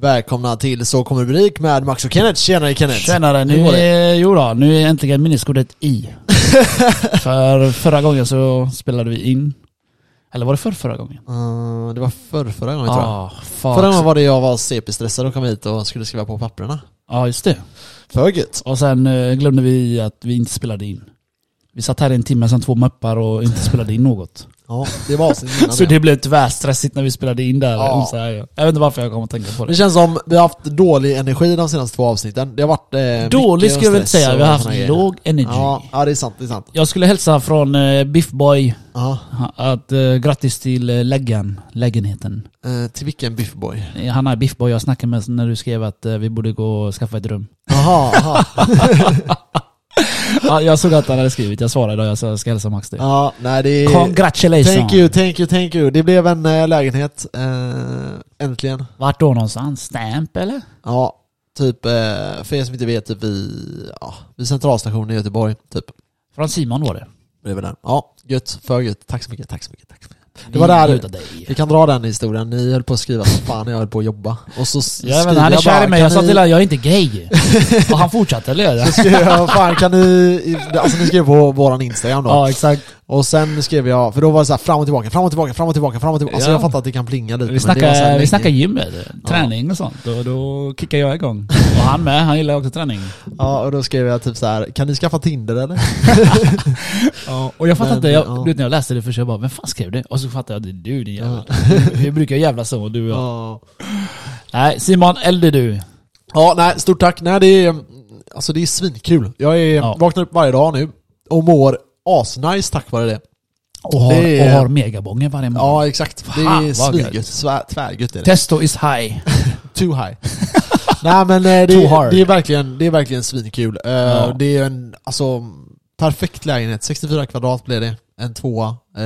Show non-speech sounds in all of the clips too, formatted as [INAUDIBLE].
Välkomna till Så kommer rubrik med Max och Kenneth. Tjenare Kenneth! Tjänare, Hur nu går det? är, jo då, nu är äntligen minneskortet [LAUGHS] i. För förra gången så spelade vi in, eller var det för förra gången? Ah, Eh, det var förr, förra gången tror jag. fuck. Förra gången var det jag var CP-stressad och kom hit och skulle skriva på papperna. Ja, just det. För gött. Och sen eh, glömde vi att vi inte spelade in. Vi satt här i en timme som två möppar och inte spelade in något. Ja, det var avsnittet innan [LAUGHS] Så det. det blev tyvärr stressigt när vi spelade in där. Ja. Så här, ja. Jag vet inte varför jag kom att tänka på Det det. känns som vi har haft dålig energi de senaste två avsnitten. Det har varit eh, Dålig mycket skulle jag väl stress säga, och vi har såna haft grejer. låg energy. Ja, ja, det är sant, det är sant. Jag skulle hälsa från eh, Biff Boy Ja. att eh, grattis till eh, läggan, lägenheten. Eh, till vilken biffboy? Han är biffboy jag snackade med när du skrev att eh, vi borde gå och skaffa ett rum. Jaha, jaha. Ja, jag såg att han hade skrivit, jag svarade och jag sa jag ska hälsa Max det. ja, nej det är... Eh, Congratulations! Thank you, thank you, thank you. Det blev en eh, lägenhet. Eh, äntligen. Vart då någonstans? Stamp eller? Ja, typ eh, för er som inte vet, typ vid, ja, vid centralstationen i Göteborg, typ. Från Simon var det. Bredvid den. Ja, gött, för gött. Tack så mycket, tack så mycket, tack så mycket. Det var där- Njuta Vi dig. kan dra den historien, ni höll på att skriva som fan när jag höll på att jobba. Och så s- Jag vet, skriver inte, han är jag bara, kär i mig, kan jag sa ni- till honom jag är inte gay. [LAUGHS] och han fortsatte [LAUGHS] eller? så skrev jag, fan kan ni, alltså ni skrev på våran Instagram då. [LAUGHS] ja exakt. Och sen skrev jag, för då var det så här fram och tillbaka, fram och tillbaka, fram och tillbaka, fram och tillbaka. Alltså Ja. jag fattar att det kan plinga lite Vi det var så här snackar, länge. vi snackar gym, eller? träning och sånt. Och då kickar jag igång. Och han med, han gillar också träning. Ja, och då skrev jag typ så här, kan ni skaffa Tinder eller? Ja, och jag fattar Men, inte, jag, ja. du vet när jag läste det först, jag bara vem fan skrev det? Och så fattade jag, det är du din jävel. [LAUGHS] Vi brukar jävla så, du och jag. Ja. Nej Simon, äldre du. Ja, nej, stort tack. Nej, det är, alltså det är svinkul. Jag är, Ja. vaknar upp varje dag nu och mår asnice tack vare det. Och har, Det är- och har megabongen varje morgon. Ja, exakt. Det Fan, är vad svingött. gött. Svär- Tvärgött är det. Testo is high. Too high. [LAUGHS] nej, men eh, det, Too hard. är, det, är verkligen, det är verkligen svinkul. Eh, Ja. Det är en alltså, perfekt lägenhet. 64 kvadrat blev det. En tvåa. Eh,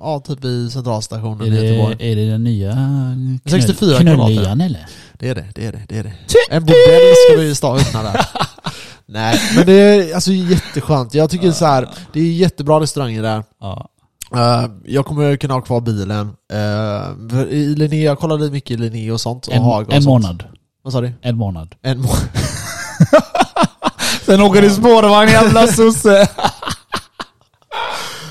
ja, typ i centralstationen Är i Göteborg. det, är det den nya knull- 64 knullian eller? Det är det, det är det, det är det. En bordell ska vi stå öppna [LAUGHS] där. Nej, men det är alltså jätteskönt. Jag tycker så här, det är jättebra restauranger där. Ja. Eh, jag kommer kunna ha kvar bilen. Eh, för i Linné, jag kollade mycket i Linné och sånt. Och En, Haga och en sånt. månad. Vad sa du? En månad. En månad. Sen åker du spårvagn jävla sosse. [LAUGHS]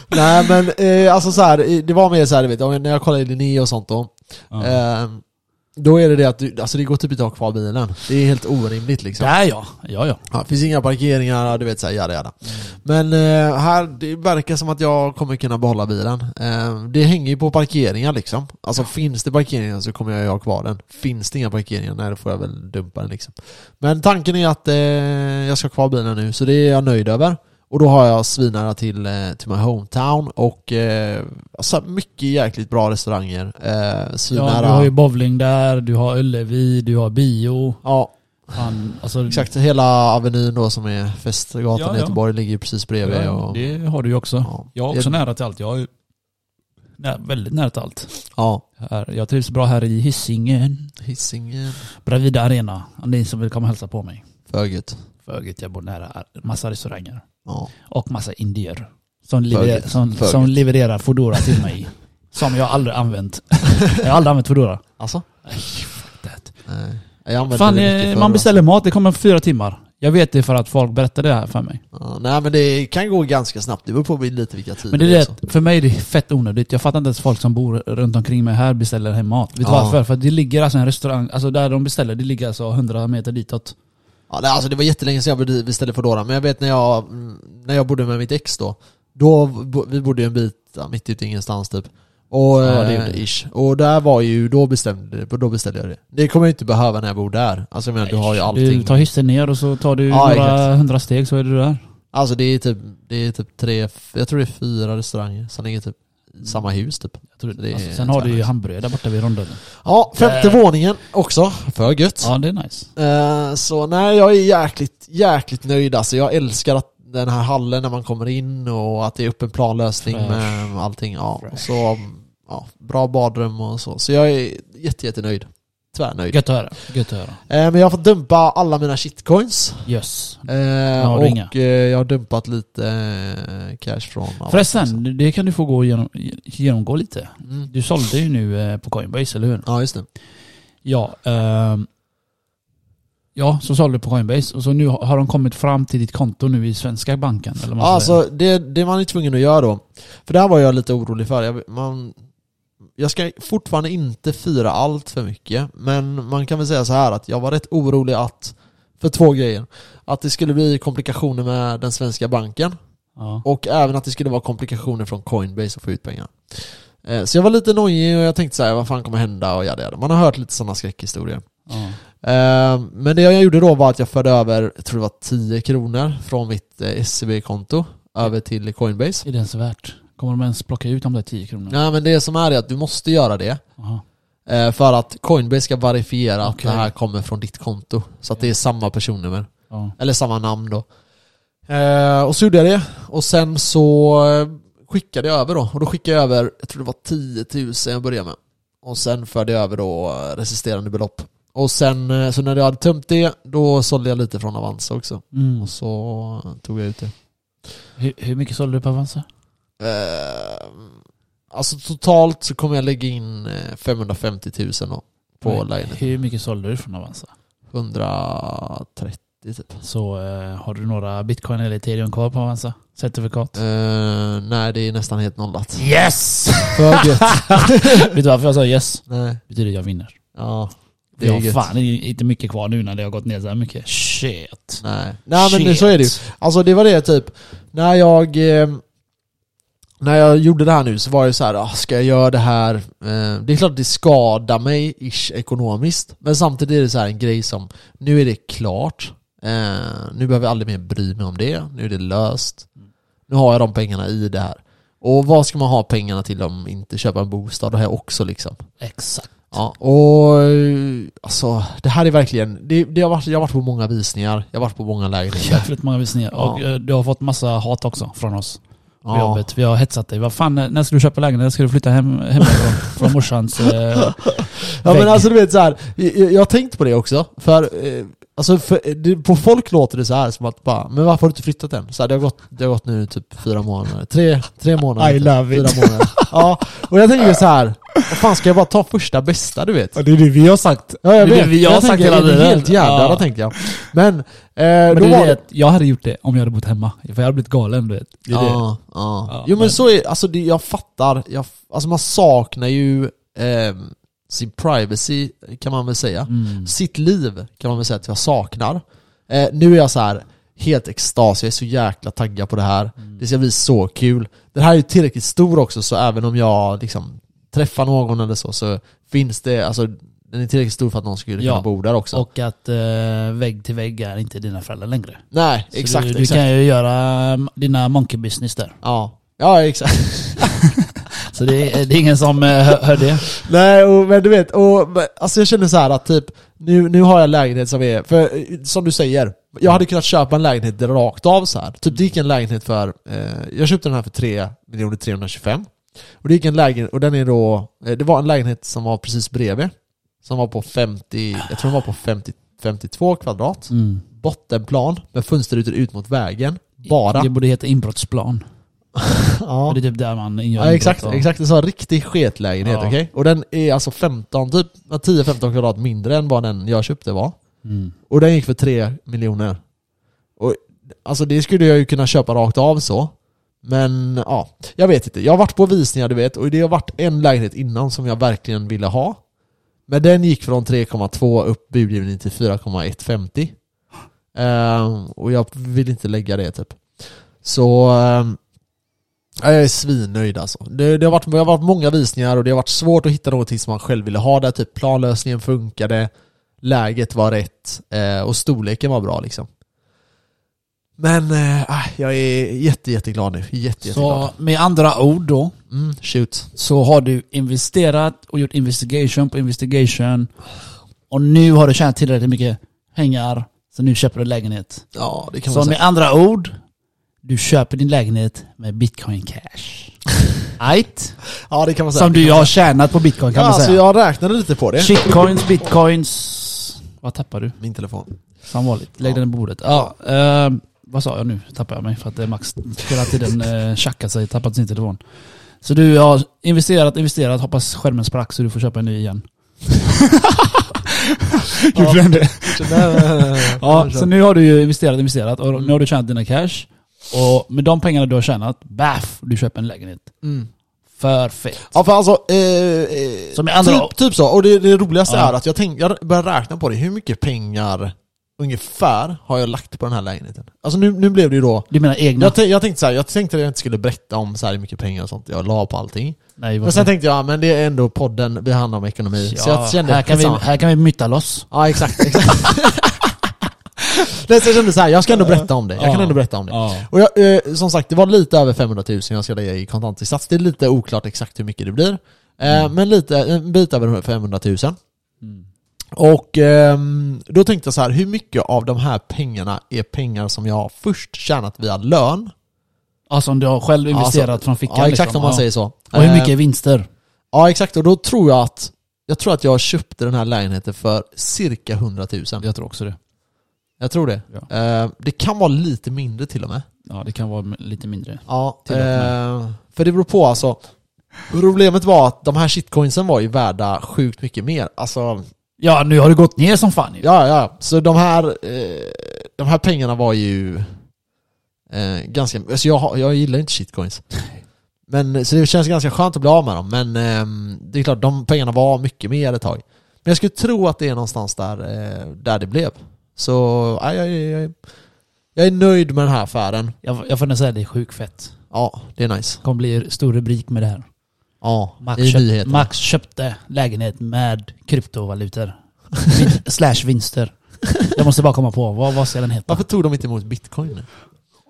Nej men eh, alltså så här, eh, det var mer så här, du vet, om- när jag kollade i Linné och sånt då. Eh, då är det det att du, alltså det går typ inte att ha kvar bilen. Det är helt orimligt liksom. Där [LAUGHS] ja. Ja ja. Ja, finns inga parkeringar, du vet såhär, jada jada. Men eh, här, det verkar som att jag kommer kunna behålla bilen. Eh, det hänger ju på parkeringar liksom. Alltså finns det parkeringar så kommer jag ju ha kvar den. Finns det inga parkeringar, nej då får jag väl dumpa den liksom. Men tanken är att eh, jag ska ha kvar bilen nu, så det är jag nöjd över. Och då har jag svinarna till, eh, till min hometown och eh, alltså mycket jäkligt bra restauranger. Eh, Typ ja svinnära. du har ju bowling där, du har Ullevi, du har bio. ja, Fan, alltså, exakt. Hela avenyn då som är Festgatan Ja, i ja. Göteborg ligger ju precis Ja, bredvid. ja, och, det har du ju också. Ja. Jag har också Det- nära till allt. Jag har ju nä, väldigt nära till allt. ja. Här, jag trivs bra här i Hisingen. Hisingen. Bravida Arena. Ni som vill komma och hälsa på mig. Föget. Föget, jag bor nära massa restauranger. [LAUGHS] Ja. Och massa indier. Som, leverer, Föget. som, Föget. som levererar Foodora [LAUGHS] till mig. som jag aldrig använt. jag har aldrig använt Foodora. Alltså? Ay, fuck that. Nej. Jag använder Fan, det mycket eh, förr, man beställer mat, det kommer om fyra timmar. Jag vet det för att folk berättar det här för mig. alltså. Ja, nej men det kan gå ganska snabbt, det beror på lite vilka tider alltså. Men det är också. det, för mig är det fett onödigt. Jag fattar inte ens folk som bor runt omkring mig här beställer hem mat. Vet du Ja. varför? För det ligger alltså en restaurang, alltså där de beställer, det ligger alltså 100 meter ditåt. Ja, nej, alltså det var jättelänge sedan jag be- beställde Foodora, men jag vet när jag, mm, när jag bodde med mitt ex då, då bo, vi bodde ju en bit ja, mitt ute i ingenstans typ. Och, Ja, det eh, gjorde det. ish. och där var ju, då bestämde, då beställde jag det. Det kommer jag inte behöva när jag bor där. Alltså jag menar, du har ju allting. Du tar hissen ner och så tar du Ja, några exakt. hundra steg så är du där. Alltså det är typ, det är typ tre, f- jag tror det är fyra restauranger som ligger typ i samma hus typ. Jag tror, Det det är Mm. alltså, sen har du ju spännande. hamburgare där borta vid rondellen. Ja, femte Eh. våningen också. För gött. Ja det är nice. Eh, Så nej, jag är jäkligt, jäkligt nöjd alltså. Jag älskar att den här hallen när man kommer in och att det är öppen planlösning Fresh. med allting. Ja, och så, ja, bra badrum och så. Så jag är jätte, jättenöjd. Tvärnöjd. Gött att höra. Gött att höra. Eh, Men jag har fått dumpa alla mina shitcoins. Yes. Eh, har du inga? och eh, jag har dumpat lite eh, cash från... Förresten, det kan du få gå igenom, genomgå lite. Mm. Du sålde ju nu eh, på Coinbase, eller hur? Ja, just det. Ja, ehm, ja, så sålde du på Coinbase och så nu har har de kommit fram till ditt konto nu i svenska banken. Eller vad man Ja, säger. alltså det, det man är tvungen att göra då. För det här var jag lite orolig för. Jag, man, jag ska fortfarande inte fira allt för mycket. Men man kan väl säga så här att jag var rätt orolig att, för två grejer. Att det skulle bli komplikationer med den svenska banken. ja. Och även att det skulle vara komplikationer från Coinbase att få ut pengar. Eh, Så jag var lite nojig och jag tänkte så här, vad fan kommer hända och jada jada. Man har hört lite sådana skräckhistorier. Ja. Eh, Men det jag gjorde då var att jag förde över, jag tror det var 10 kronor från mitt eh, SEB-konto över till Coinbase. Är det ens värt? Kommer de ens plocka ut de där 10 kronorna? Nej men det som är är att du måste göra det Aha. eh, för att Coinbase ska verifiera Okej. att det här kommer från ditt konto. Så att det är samma personnummer. Ja. Eller samma namn då. Eh, och så gjorde jag det. Och sen så eh, skickade jag över då. Och då skickade jag över, jag tror det var 10 000 jag började med. Och sen förde jag över då eh, resisterande belopp. Och sen, eh, så när jag hade tömt det, då sålde jag lite från Avanza också. Mm. Och så eh, tog jag ut det. Hur, hur mycket sålde du på Avanza? Eh, alltså totalt så kommer jag lägga in eh, 550 000 då. På lägenheten. Hur mycket sålde du från Avanza? 130 typ. Så eh, har du några bitcoin eller ethereum kvar på Avanza? Certifikat? Eh, nej, det är nästan helt nollat. Yes! För gött. [LAUGHS] Vet du varför jag sa yes? [LAUGHS] nej. Betyder jag vinner. Ja, det Det är jag har gött. fan inte mycket kvar nu när det har gått ner så här mycket. Shit. Nej. Nej men så är det ju. Shit. Alltså det var det typ, när jag eh, när jag gjorde det här nu så var jag så här, ah, ska jag göra det här? Eh, det är klart att det skadar mig ish ekonomiskt. Men samtidigt är det så här en grej som, nu är det klart. Eh, nu behöver jag aldrig mer bry mig om det. Nu är det löst. Nu har jag de pengarna i det här. Och vad ska man ha pengarna till om inte köpa en bostad? Det här också liksom. Exakt. Ja, och eh, alltså det här är verkligen, det, det har varit, jag har varit på många visningar, jag har varit på många lägenheter. Jävligt många visningar. Och Ja. eh, du har fått massa hat också från oss på Ja. jobbet. Vi har hetsat dig. Vad fan, eh, när ska du köpa lägenhet? Ska du flytta hem, [LAUGHS] hemifrån? från morsans eh, Ja vägg? men alltså du vet så här, jag, jag har tänkt på det också, för, eh, alltså, för eh, det, på folk låter det så här som att bara, men varför har du inte flyttat än? Så här, det, har gått, det har gått nu typ fyra månader, tre, tre månader. I typ. love it. Fyra [LAUGHS] månader. Ja, och jag tänker så här, vad fan ska jag bara ta första bästa du vet? det är det vi har sagt. Ja jag Det är vet, det vi har jag sagt tänker, hela är det tiden. helt jävla, Ja. ja. tänkte jag. Men, eh, Men då det var är det, det, att jag hade gjort det om jag hade bott hemma. För jag hade blivit galen du vet. Det är det. Ja, ja. Ja, Jo men, men- så är alltså det, jag fattar, jag, alltså man saknar ju ehm, sin privacy kan man väl säga. Mm. Sitt liv kan man väl säga att jag saknar. Eh, nu är jag så här helt extas, jag är så jäkla taggad på det här. Mm. Det ska bli så kul. Den här är ju tillräckligt stor också så även om jag liksom träffar någon eller så, så finns det, alltså den är tillräckligt stor för att någon skulle kunna Ja. bo där också. Och att eh, vägg till vägg är inte dina föräldrar längre. Nej, Så exakt, du, du exakt. kan ju göra mm, dina monkey business där. Ja. ja, exakt. Så det är, det är ingen som eh, hör, hör det. Nej, och, men du vet, och, men, alltså jag känner så här att typ, nu, nu har jag en lägenhet som är, för eh, som du säger, jag hade kunnat köpa en lägenhet rakt av så här. Typ det gick en lägenhet för, eh, jag köpte den här för 3 325 Och det gick en lägenhet, och den är då, eh, det var en lägenhet som var precis bredvid, som var på 50, jag tror den var på 50, 52 kvadrat, Mm. bottenplan med fönsterrutor ut mot vägen, bara. Det borde heta inbrottsplan. Ja. Det är typ där man gör Ja exakt, inbrott och- exakt. En sån riktig sketlägenhet, Ja. okej? Och den är alltså 15, typ 10-15 kvadrat mindre än vad den jag köpte var. Mm. Och den gick för 3 miljoner. Och alltså det skulle jag ju kunna köpa rakt av så. Men ja, jag vet inte. Jag har varit på visningar du vet, och det har varit en lägenhet innan som jag verkligen ville ha. Men den gick från 3,2 upp budgivningen till 4,150. Ehm, och jag vill inte lägga det typ. Så ehm, ja, jag är svinnöjd alltså. Det, det, har varit, det har varit många visningar och det har varit svårt att hitta någonting som man själv ville ha där. Typ planlösningen funkade, läget var rätt eh, och storleken var bra liksom. Men eh, ah, jag är jätte, jätteglad nu. Jätte, jätteglad. Så med andra ord då, Mm, shoot. så har du investerat och gjort investigation på investigation. Och nu har du tjänat tillräckligt mycket pengar, så nu köper du lägenhet. Ja, det kan man Så säga. med andra ord, du köper din lägenhet med bitcoin [LAUGHS] cash. Right? Ja, det kan man säga. Som du har tjänat på bitcoin kan ja, man alltså, säga. jag räknade lite på det. Shitcoins, bitcoins... Vad tappar du? Min telefon. Som vanligt. Lägg Ja. den på bordet. Ja, ehm, vad sa jag nu? Tappar jag mig för att det är Max hela tiden eh, tjackar sig, tappat sin telefon. [LAUGHS] Så du har investerat, investerat, hoppas skärmen sprack så du får köpa en ny igen. Ja. Gjorde den det? [LAUGHS] Ja, Ja, mm. så nu har du ju investerat, investerat och nu har du tjänat dina cash. Och med de pengarna du har tjänat, baff, du köper en lägenhet. Mm. För fett. Ja för alltså, eh, eh, Som i andra- typ, typ så. Och det, det roligaste Ja. är att jag, tänk, jag börjar räkna på det. Hur mycket pengar ungefär har jag lagt på den här lägenheten? Alltså nu, nu blev det ju då... Du menar egna? Jag, tän- jag tänkte så här, jag tänkte att jag inte skulle berätta om så här hur mycket pengar och sånt jag la på allting. Nej, Men varför? sen tänkte jag, men det är ändå podden, vi handlar om ekonomi. så jag kände, här, kan vi, skitsamma. här kan vi mytta loss. Ja exakt, exakt. [LAUGHS] [LAUGHS] Nej, så jag kände så här, jag ska ändå berätta om det. Jag kan Ja. ändå berätta om det. Ja. Och jag, eh, som sagt, det var lite över 500 000 jag ska lägga i kontantinsats. Det är lite oklart exakt hur mycket det blir. Eh, Mm. Men lite, en bit över 500 000. Och ehm, då tänkte jag så här, hur mycket av de här pengarna är pengar som jag har först tjänat via lön? Ja, som Alltså, du har själv investerat Alltså, från fickan. Ja, exakt liksom. om man Ja. säger så. Och hur mycket Eh, är vinster? Ja, exakt. Och då tror jag att jag tror att jag köpte den här lägenheten för cirka 100 000. Jag tror också det. Jag tror det. Ja. Eh, det kan vara lite mindre till och med. Ja, det kan vara m- lite mindre. Ja, Till och med. eh, för det beror på alltså. Problemet var att de här shitcoinsen var ju värda sjukt mycket mer. Alltså, Ja, nu har det gått ner som fan ju. ja, ja. Så de här, eh, de här pengarna var ju eh, ganska... Alltså jag, har- jag gillar inte shitcoins. Men, så det känns ganska skönt att bli av med dem. Men ehm, det är klart, de pengarna var mycket mer ett tag. Men jag skulle tro att det är någonstans där, eh, där det blev. Så ja, jag, är- jag, är- jag är nöjd med den här affären. Jag, jag får nästan säga det är sjukt fett. Ja, det är nice. Det kommer bli stor rubrik med det här. Ja, Max, i köpt, nyheterna. Max köpte lägenhet med kryptovalutor. [LAUGHS] Slash vinster. Jag måste bara komma på, vad, vad ska den heta? Varför tog de inte emot bitcoin?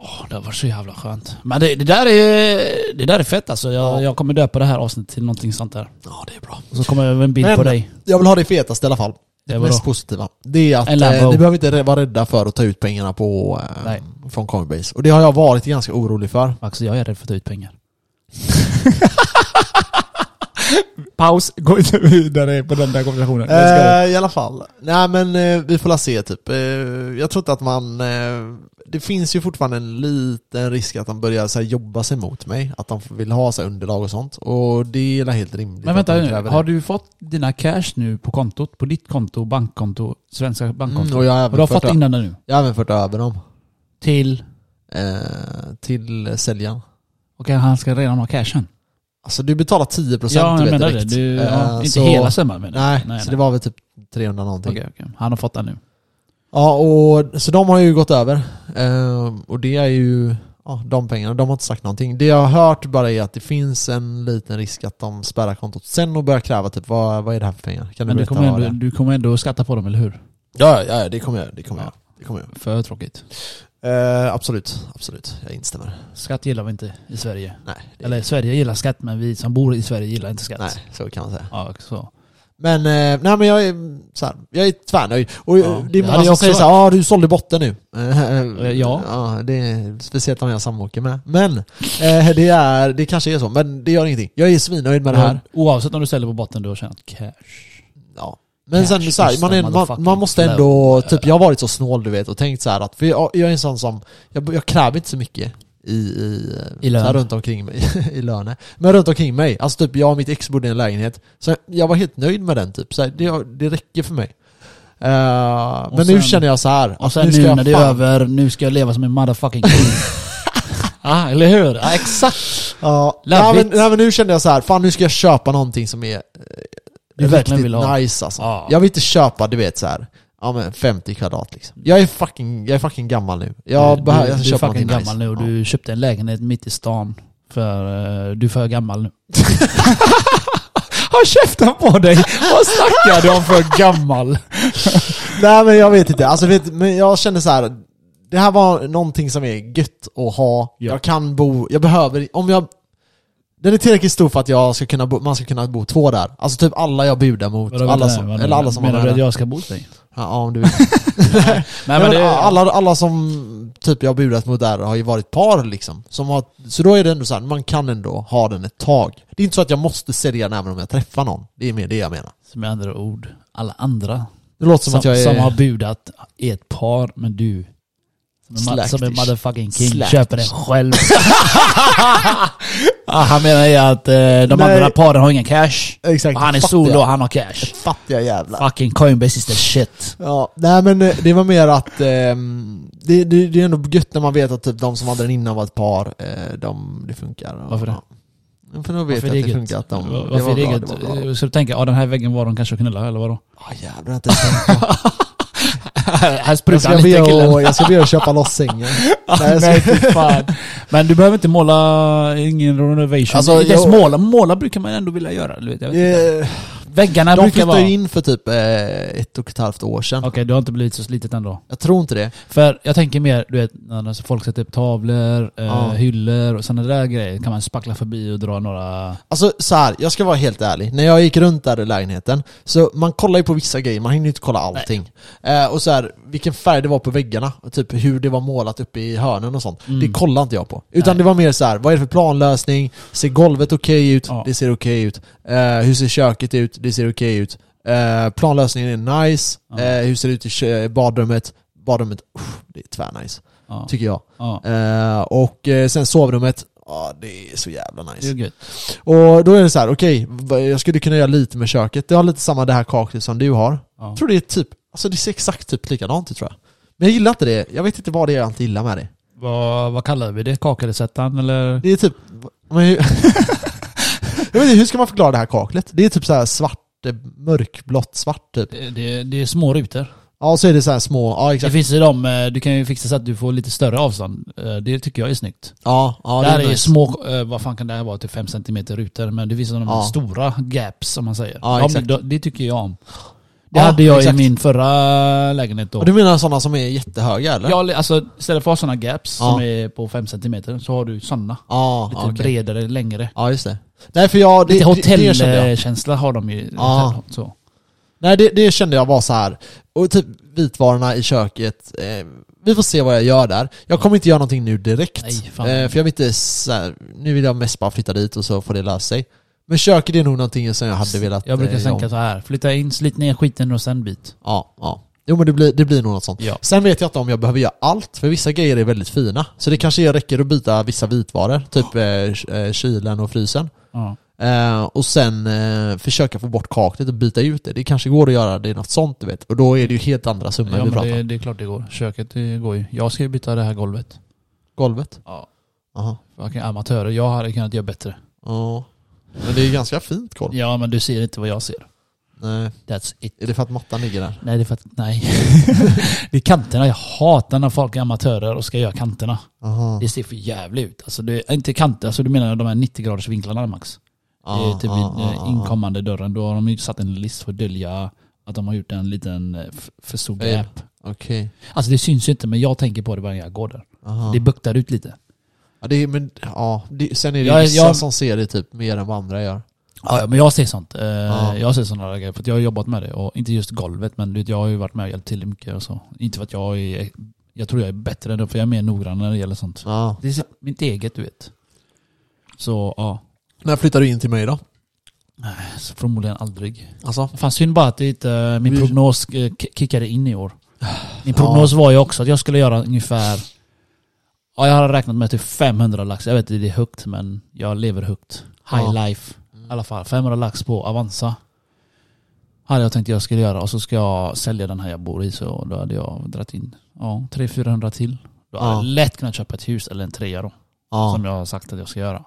Åh, det var så jävla skönt. Men det, det, där, är, det där är fett alltså. Jag, Ja. jag kommer döpa det här avsnittet till någonting sånt där. Ja, det är bra. Och så kommer jag med en bild Men- på dig. Jag vill ha det fetaste i alla fall. Det Det var mest bra. positiva. Det är att En eh, Lambo. ni behöver inte rä- vara rädda för att ta ut pengarna på, Nej. eh, från Coinbase. Och det har jag varit ganska orolig för. Max, jag är rädd för att ta ut pengar. [LAUGHS] Paus, gå inte vidare på den där konversationen. Eh, I alla fall. Nej men eh, vi får la se typ. Eh, jag tror inte att man... Eh, det finns ju fortfarande en liten risk att de börjar så här, jobba sig mot mig. Att de vill ha så här, underlag och sånt. Och det är väl helt rimligt. Men att vänta de nu, kräver har det. du fått dina cash nu på kontot? På ditt konto, bankkonto, svenska bankkonto? Mm, och jag har, och du har även fått fört, in den där nu? jag har även fört över dem. Till? Eh, till säljaren. Okej, han ska redan ha cashen. Alltså du betalar 10% Ja, du vet jag menar det. direkt. Du, Eh, ja, inte så- hela summan menar jag. Nej, så det var väl typ 300 någonting. Okej, okej. Han har fått den nu. Ja, och så de har ju gått över. Ehm, och det är ju ja, de pengarna. De har inte sagt någonting. Det jag har hört bara är att det finns en liten risk att de spärrar kontot sen och börjar kräva typ vad, vad är det här för pengar? Kan du Men du berätta kommer, vad ändå, det är? du kommer ändå skatta på dem, eller hur? Ja, ja, ja, det kommer jag det kommer jag Det kommer jag För tråkigt. Eh, absolut, absolut. Jag instämmer. Skatt gillar vi inte i Sverige. Nej, det, Eller Sverige gillar skatt, men vi som bor i Sverige gillar inte skatt. nej, så kan man säga. Ja, så. Men, eh, nej, men jag är så här, jag är tvärnöjd. Och eh, Ja, det är det många hade som jag säger också såhär, ah, du sålde botten nu. Eh, eh, Eh, ja. ja det är, speciellt om jag samåker med. Men, eh, det, är, det kanske är så, men det gör ingenting. Jag är svinnöjd med det här. Oavsett om du säljer på botten, du har tjänat cash. Ja. Men Cash sen så här, is man, the är, man, motherfucking man måste flow. ändå, typ jag har varit så snål du vet och tänkt så här att, för jag, jag är en sån som, jag, jag kräver inte så mycket i, i, I så här, lön. runt omkring mig, [LAUGHS] i löne. Men runt omkring mig, alltså typ jag och mitt ex bodde i en lägenhet, så jag var helt nöjd med den typ, så här, det, det räcker för mig. Eh, men nu sen- känner jag så här, Och att sen nu nu, ska jag när det är fan- över, nu ska jag leva som en [LAUGHS] motherfucking king. ah, eller hur? Ja, exakt. Ja, Love nej, men, it. nej men nu kände jag så här, fan nu ska jag köpa någonting som är eh, Du verkligen riktigt vill ha. nice alltså. Ja. Jag vill inte köpa, du vet så här, ja men 50 kvadrat liksom. Jag är fucking, jag är fucking gammal nu. Jag behöver, Eh, jag du, ska du är köpa fucking någonting gammal nice. nu och ja. du köpte en lägenhet mitt i stan. För eh, du är för gammal [LAUGHS] nu. Har käften på dig! Vad snackar du om för gammal? Nej men jag vet inte, alltså vet, men jag kände så här. Det här var någonting som är gött att ha. Ja. Jag kan bo, jag behöver, om jag den är tillräckligt stor för att jag ska kunna bo, man ska kunna bo två där. Alltså typ alla jag budar mot. alla som, eller alla som Menar har du att den. Ja, jag ska bo hos dig? ja, om du vill. Nej, Nej, men alla, alla som typ jag har budat mot där har ju varit par liksom. Som har, så då är det ändå så här, man kan ändå ha den ett tag. Det är inte så att jag måste sälja den även om jag träffar någon. Det är mer det jag menar. Som med andra ord, alla andra Det låter som, som, som, att jag är... har budat är ett par, men du Som en, ma- som en Slaktish. motherfucking king. Slaktish. Köper [LAUGHS] den själv. ah, han menar ju att eh, de Nej. andra paren har ingen cash. Exakt. Och han är Fattiga. solo och han har cash. Fattiga jävlar. Fucking Coinbase is the shit. Ja, nej men eh, det var mer att ehm, det, det, det är ändå gött när man vet att typ de som hade den innan var ett par, eh, de, det funkar. Varför det? Ja, för de vet Varför att det, gött? funkar att de... Var- det Varför var är bra, det det var eget? bra. Eh, Så du tänker, ja den här väggen var de kanske och knullade eller vadå? Ah, jävlar, jag har inte tänkt på. här Alltså, Jag sprutar ska han be lite killen. och, jag ska be och köpa loss sängen. [LAUGHS] Nej, jag ska- Nej, fy fan. Men du behöver inte måla ingen renovation. Alltså, Alltså, dess jag- måla, måla brukar man ändå vilja göra. Du vet, jag vet. inte. Eh, Väggarna De brukar vara... flyttade ju Okej, in för typ eh, ett och ett halvt år sedan. du har inte blivit så slitet ändå. Jag tror inte det. För jag tänker mer, du vet, när alltså folk sätter upp tavlor, eh, Ja. hyllor och sådana där grejer. Kan man spackla förbi och dra några... Alltså så här, jag ska vara helt ärlig. När jag gick runt där i lägenheten, så man kollar ju på vissa grejer, man hinner ju inte kolla allting. Eh, och så här, vilken färg det var på väggarna, och typ hur det var målat uppe i hörnen och sånt. Det kollade inte jag på. Utan Mm. Nej. det var mer så här, vad är det för planlösning? Ser golvet okej ut? Ja. Det ser okej ut. Eh, hur ser köket ut? Det ser okej ut. Eh, planlösningen är nice. Ja. Eh, hur ser det ut i kö- badrummet? Badrummet, uff, det är tvärnice, Ja. tycker jag. ja. Eh, och eh, sen sovrummet, ja det är så jävla nice. Det är gött. Och då är det så här, okej, vad- jag skulle kunna göra lite med köket. Det har lite samma det här kaklet som du har. Ja. Jag tror det är typ, alltså det ser exakt typ likadant ut tror jag. Men jag gillar inte det. Jag vet inte vad det är jag inte gillar med det. Vad, vad kallar vi det? Kakelsättaren eller? Det är typ, men, hur- [LAUGHS] jag vet inte, hur ska man förklara det här kaklet? Det är typ så här svart, eh, mörkblått svart typ. Det, det, det är små rutor. Ja, och så är det så här små, ja Det exakt. finns ju de, eh, du kan ju fixa så att du får lite större avstånd. Eh, Det tycker jag är snyggt. Ja, ja det här är ju nice. små, eh, vad fan kan det här vara, till 5 cm rutor. Men det finns de Ja. stora gaps som man säger. Ja, De- exakt. de- det tycker jag om. Det Ja, hade jag exakt. i min förra lägenhet då. Och Du menar sådana som är jättehöga eller? Ja, alltså, istället för att ha sådana gaps Ja. som är på 5 cm så har du sådana. Ja, Lite ja, okej. bredare, längre. ja just det. Nej för jag, det, Lite det, det kände jag. hotellkänsla har de ju. Ja. Så. Nej, det, det kände jag var så här. Och typ vitvarorna i köket. Eh, vi får se vad jag gör där. Jag kommer inte göra någonting nu direkt. Nej, fan. eh, för jag vill inte så här, Nu vill jag mest bara flytta dit och så får det lösa sig. Men köket är nog någonting som jag hade velat... Jag brukar eh, tänka om. så här. flytta in, slit ner skiten och sen byt. Ja, ja. Jo men det blir, det blir nog något sånt. Ja. Sen vet jag inte om jag behöver göra allt, för vissa grejer är väldigt fina. Så det kanske räcker att byta vissa vitvaror, typ eh, k- eh, kylen och frysen. Ja. Eh, och sen eh, försöka få bort kaklet och byta ut det. Det kanske går att göra det är något sånt du vet. Och då är det ju helt andra summor ja, vi men pratar om. det, det är klart det går. Köket det går ju. Jag ska ju byta det här golvet. Golvet? Ja. Aha. Fucking amatörer. Jag hade kunnat göra bättre. Ja. Men det är ju ganska fint golv. Ja, men du ser inte vad jag ser. Nej. That's it. Är det för att mattan ligger där? Nej, det är för att... Nej. [LAUGHS] det är kanterna. Jag hatar när folk är amatörer och ska göra kanterna. Aha. Det ser för jävligt ut. Alltså, det är inte kanter. Alltså, du menar de här 90 graders vinklarna max? det är typ vid eh, inkommande dörren. Då har de ju satt en list för att dölja att de har gjort en liten eh, f- för stor Eh. gap. Okej. Alltså det syns ju inte, men jag tänker på det varje gång jag går där. Aha. Det buktar ut lite. Ja, det är, men, ja. Det, sen är det Jag- vissa jag- som ser det typ mer än vad andra gör. Ja, ja, men jag ser sånt. Eh, Ja. Jag ser sådana där grejer. För att jag har jobbat med det. Och inte just golvet, men du vet, jag har ju varit med och hjälpt till mycket och så. Inte för att jag är... Jag tror jag är bättre än det, för jag är mer noggrann när det gäller sånt. Ja. Det är mitt eget, du vet. Så, ja. När flyttar du in till mig då? Så förmodligen aldrig. Alltså? Fan, synd bara att det inte, eh, min Vi- prognos eh, k- kickade in i år. Min prognos var ju också att jag skulle göra ungefär... Ja, jag hade räknat med typ 500 lax. Jag vet inte, det är högt, men jag lever högt. High Ja. Mm. life. I alla fall, 500 lax på Avanza. Hade jag tänkt jag skulle göra och så ska jag sälja den här jag bor i så då hade jag dragit in ja, 300-400 till. Då hade Ja. jag lätt kunnat köpa ett hus eller en trea då. Ja. Som jag har sagt att jag ska göra.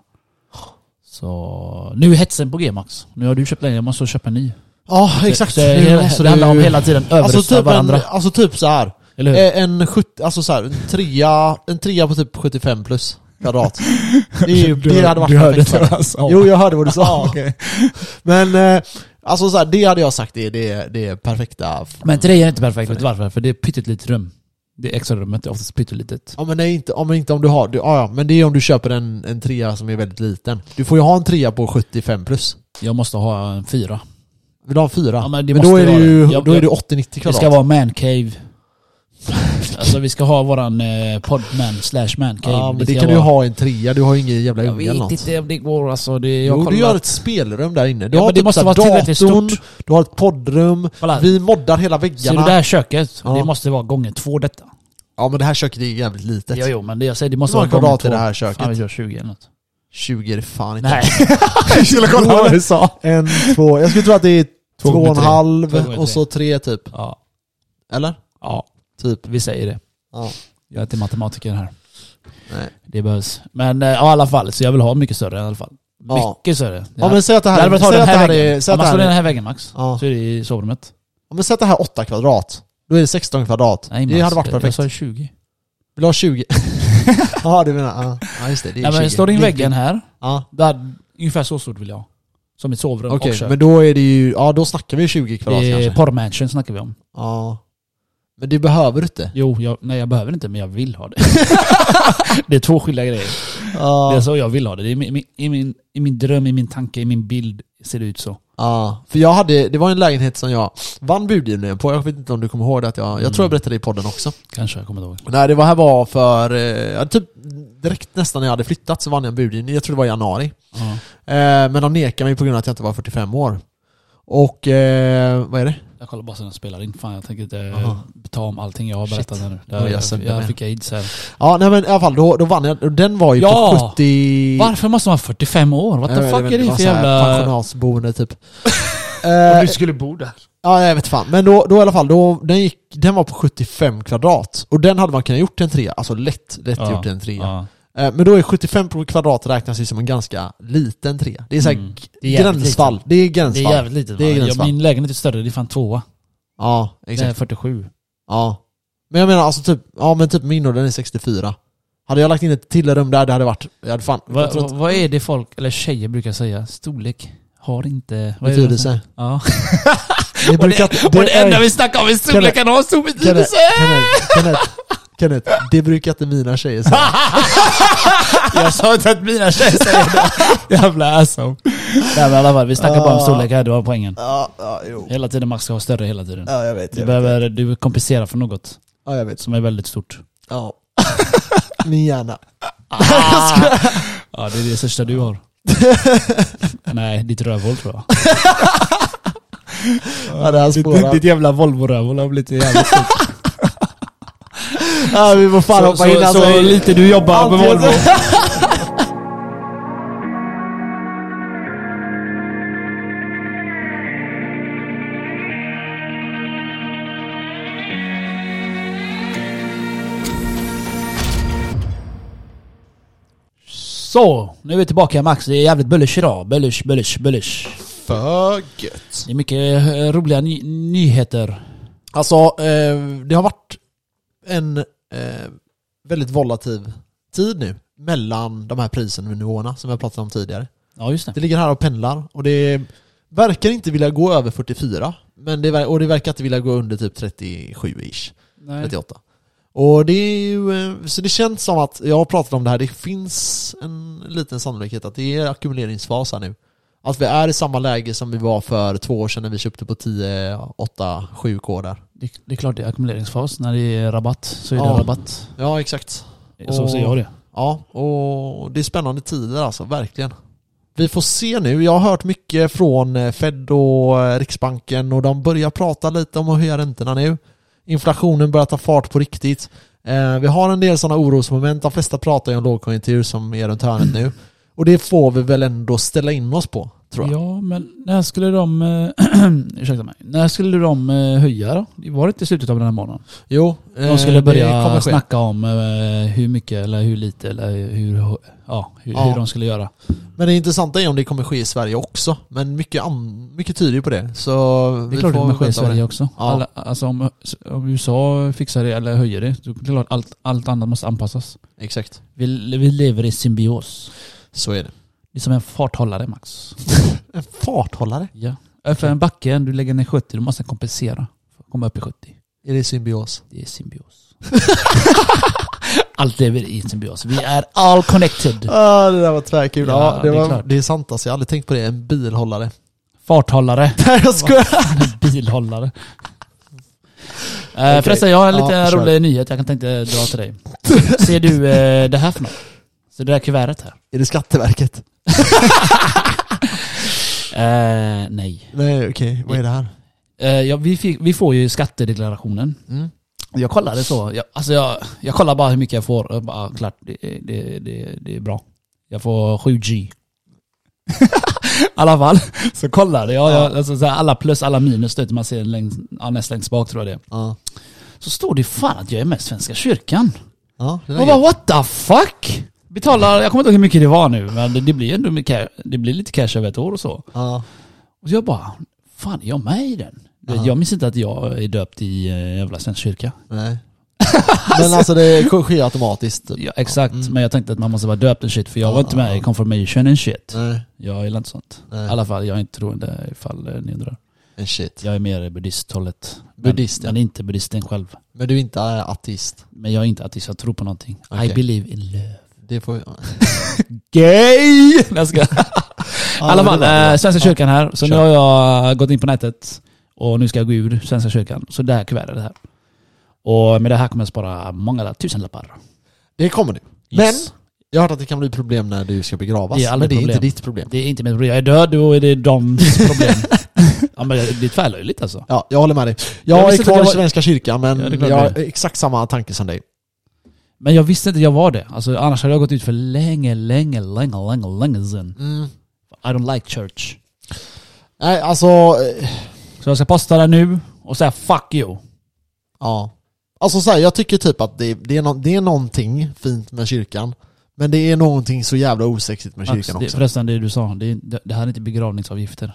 Så nu är hetsen på G Max. Nu har du köpt den, jag måste köpa en ny. Ja, exakt. Det, det, Nu det, måste det handlar du- om hela tiden överrösta Alltså typ, en, varandra. alltså typ så här. eller hur? Eh, En, 70, alltså så här, en, trea, en trea på typ 75 plus kvadrat. Det, [LAUGHS] är ju, det hade varit perfekt för dig. Jo, jag hörde vad du sa. Men eh, alltså så här, det hade jag sagt det, det, det är perfekta. Men tre är inte perfekt, vet du varför? För det är pyttelitet rum. Det extra rummet är oftast pyttelitet. Ja men nej, inte, ja, men inte om du har, du, ja, ja, men det är om du köper en, en trea som är väldigt liten. Du får ju ha en trea på 75 plus. Jag måste ha en fyra. Vill du ha en fyra? Ja, men det då måste är det vara ju det. Jag- då är det jag- 80-90 Det kvadrat. ska vara mancave. [LAUGHS] Alltså vi ska ha våran eh, podman slash mancave. ja, men det, ska kan du ju vara- ha i en trea, du har ju ingen jävla Jag unge eller vet något. inte om det går alltså. Det, jag Jo, kollar- du gör ett spelrum där inne. Du Ja, har men det typ måste så här vara tillräckligt datorn, stort. Du har ett poddrum, Kolla. vi moddar hela Ser du väggarna. det här köket? Ja. Det måste vara gånger två detta. Ja men det här köket är ju jävligt litet. Jo, jo, men det jag säger, det måste Hur vara många kvadrat gånger är det två. här köket? Fan, vi kör 20 eller något. 20 är det fan inte. [LAUGHS] Nej, [LAUGHS] jag skulle kolla [LAUGHS] vad det sa. En, två, jag skulle tro att det är två, och Två en gånger tre. halv Två gånger och så tre typ. ja, Eller? ja, Typ. vi säger det. Ja. Jag är inte matematiker här. Nej. Det behövs. Men eh, ja, i alla fall, så jag vill ha mycket större i alla fall. Ja. Mycket större. Ja men säg att det det här, hade varit säg den att det här här väggen. är, säg Om att man det här står i den är, här väggen max, Ja. så är det i sovrummet. ja, men säg att det här är 8 kvadrat. Då är det 16 kvadrat. Nej, det Mats, hade varit perfekt. Jag sa 20. Vill du ha 20? Ja du menar, ja. ja just det, det är Nej, 20. men står det in väggen här, Ja. där, ungefär så stort vill jag ha. Som ett sovrum Okej, och kök. men då är det ju, ja då snackar vi 20 kvadrat det är kanske. porrmansion snackar vi om. Ja. Men det behöver du inte. Jo, jag, nej jag behöver inte men jag vill ha det. [LAUGHS] det är två skilda grejer. Det är Ja. så jag vill ha det. det är min, min, i, min, I min dröm, i min tanke, i min bild ser det ut så. ja. För jag hade, det var en lägenhet som jag vann budgivningen på. Jag vet inte om du kommer ihåg det att jag, jag Mm. tror jag berättade det i podden också. Kanske, jag kommer inte ihåg. Nej det var här var för, eh, ja, typ direkt nästan när jag hade flyttat så vann jag en budgivning. Jag tror det var i januari. Ja. Eh, men de nekade mig på grund av att jag inte var 45 år. Och, eh, vad är det? Jag kollar bara så den spelar in. Fan jag tänker inte Aha. eh, ta om allting jag har Shit. berättat här nu. Oj, jag Jag, jag, sönder mig. fick aids här. Ja nej men i alla fall, då, då vann jag. Och Den var ju på Ja! 70... Varför måste man vara 45 år? What Jag the vet fuck inte, är det var för så här jävla... Pensionatsboende [LAUGHS] typ. Om eh, du skulle bo där. ja, jag vet fan. Men då, då i alla fall, då, den, gick, den var på 75 kvadrat. Och den hade man kunnat gjort till en trea. Alltså lätt, lätt Ja, gjort till en trea. Ja. Eh, men då är 75 på kvadrat räknas ju som en ganska liten trea. Det är såhär Mm. g- Det är jävligt gränsfall. Det är Det gränsfall. är jävligt litet. Det är va? ja, gränsfall. min lägenhet är större, det är fan tvåa. Ja, Det är exakt. 47. Ja. Men jag menar alltså typ, ja men typ min och den är 64. Hade jag lagt in ett till rum där, det hade varit, jag hade fan, jag Vad, tror inte, vad är det folk, eller tjejer brukar säga? Storlek har inte... vad är det de betydelse. säger? Ja. Det Och brukar, [LAUGHS] det, och det är- enda vi snackar om är storleken har stor Kenneth, betydelse! Kenneth, Kenneth, Kenneth, det brukar inte mina tjejer [LAUGHS] säga. Jag sa inte att mina tjejer säger det. Jävla asshole. Nej men i alla fall, vi snackar bara om storlek här, det var poängen. Ja, ja, jo. Ah. Hela tiden Max ska vara större hela tiden. Ja, jag vet. Du behöver, du kompensera för något Ja, jag vet. som är väldigt stort. Ja. [LAUGHS] Min hjärna. Ja det är det största du har. [LAUGHS] Nej, ditt rövhål tror jag. Ja, det här spårar. jävla Volvo-rövhål har blivit jävligt stort. Ja, vi får fan Så, hoppa in så, alltså. så lite du jobbar med Antingen- Volvo. Så, nu är vi tillbaka Max. Det är jävligt bullish idag. Bullish, bullish, bullish. För gött. Det är mycket eh, roliga ny- nyheter. Alltså, eh, det har varit en eh, väldigt volatil tid nu mellan de här priserna och nivåerna som vi har pratat om tidigare. Ja just det. Det ligger här och pendlar och det verkar inte vilja gå över 44. Men det, ver- och det verkar inte vilja gå under typ 37-ish. Nej. 38. Och det är ju, eh, så det känns som att, jag har pratat om det här, det finns en liten sannolikhet att det är ackumuleringsfas här nu. Att vi är i samma läge som vi var för två år sedan när vi köpte på 10, 8, 7K där. Det, det är klart det är ackumuleringsfas. När det är rabatt så är det Ja. rabatt. Ja, exakt. Så Och- ser jag det. Ja, och det är spännande tider alltså, verkligen. Vi får se nu. Jag har hört mycket från eh, Fed och eh, Riksbanken och de börjar prata lite om att höja räntorna nu. Inflationen börjar ta fart på riktigt. Eh, Vi har en del sådana orosmoment. De flesta pratar ju om lågkonjunktur som är runt hörnet nu. Och det får vi väl ändå ställa in oss på, tror jag. Ja, men när skulle de... eh, [CLEARS THROAT] ursäkta mig. När skulle de eh, höja då? Det var inte i slutet av den här månaden. Jo, eh, De det skulle kommer börja ske. snacka om eh, hur mycket eller hur lite eller hur, ja, hur, Ja. hur de skulle göra. Men det intressanta är om det kommer ske i Sverige också. Men mycket, an- mycket tyder ju på det. Så Det är klart det kommer ske i Sverige också. Ja. Alla, alltså om, om USA fixar det eller höjer det, då är det klart allt, allt annat måste anpassas. Exakt, Vi, vi lever i symbios. så är det. Det är som en farthållare Max. En farthållare. Ja. För en backe, du lägger ner 70, du måste kompensera. för att Komma upp i 70. Är det symbios? Det [LAUGHS] är symbios. Allt lever i symbios. Vi är all connected. Ah, det där var tvärkul. Ja, det, Ja, det är var, klart. det är sant alltså, jag har aldrig tänkt på det. En bilhållare. Farthållare, [LAUGHS] Nej jag skojar! bilhållare. [LAUGHS] Eh, Okej. Förresten, jag har en Ja, liten kör. rolig nyhet jag kan tänkte dra till dig. Ser du eh, det här för något? Ser du det här kuvertet här? Är det Skatteverket? Eh, nej. Nej okej, vad är det här? Eh, ja, vi, fick, vi får ju skattedeklarationen. Mm. Jag kollade så. Jag, alltså jag, jag kollar bara hur mycket jag får. Jag bara, klart, det, är- det, är- det, är- det är bra. Jag får 7G. [LAUGHS] I alla fall. Så kollade jag. jag alltså så här, alla plus, alla minus. Du vet, man ser längst, ja, näst längst bak tror jag det är. Ja. Så står det fan att jag är med i Svenska kyrkan. Ja, det där Jag bara what the fuck? Betalar, jag kommer inte ihåg hur mycket det var nu, men det, det blir ändå mycket, cash- det blir lite cash över ett år och så. ja. Och jag bara, fan är jag med i den? Du vet, Jag minns inte att jag är döpt i eh, jävla Svensk kyrka. [LAUGHS] Nej. Men alltså det sker automatiskt. typ. Ja, exakt, men jag tänkte att man måste vara döpt och shit för jag var inte med i confirmation and shit. Nej. Jag gillar inte sånt. Nej. I alla fall, jag är inte troende ifall eh, ni undrar. En shit. Jag är mer i buddhisthållet. Buddhist, ja. Men, men inte buddhisten själv. Men du är inte eh, ateist. Men jag är inte ateist, jag tror på någonting. I Okej. believe in love. Det får [LAUGHS] Gay! [LAUGHS] Nej, jag skojar. I alla men fall, det var bra. eh, Svenska kyrkan här. Så Kör. nu har jag gått in på nätet och nu ska jag gå ur Svenska kyrkan. Så det här kuvertet är det här. Och med det här kommer jag spara många tusenlappar. Det kommer du. Yes. Men jag har hört att det kan bli problem när du ska begravas. Det är men aldrig det är problem. inte ditt problem. Det är inte mitt problem. Jag är död och det är doms [LAUGHS] problem. ja, men det är tvärlöjligt alltså. Ja, jag håller med dig. Jag, Jag är visste inte kvar att jag i var- Svenska kyrkan men Ja, det är klart jag har det. exakt samma tanke som dig. Men jag visste inte jag var det. Alltså, annars hade jag gått ut för länge, länge, länge, länge, länge sedan. Mm. I don't like church. Nej, alltså... eh, Så jag ska posta det nu och säga fuck you. Ja. Alltså så här, jag tycker typ att det, det, är no, det är någonting fint med kyrkan. Men det är någonting så jävla osexigt med kyrkan Alltså, det, också. förresten, det du sa. Det, det, det här är inte begravningsavgifter.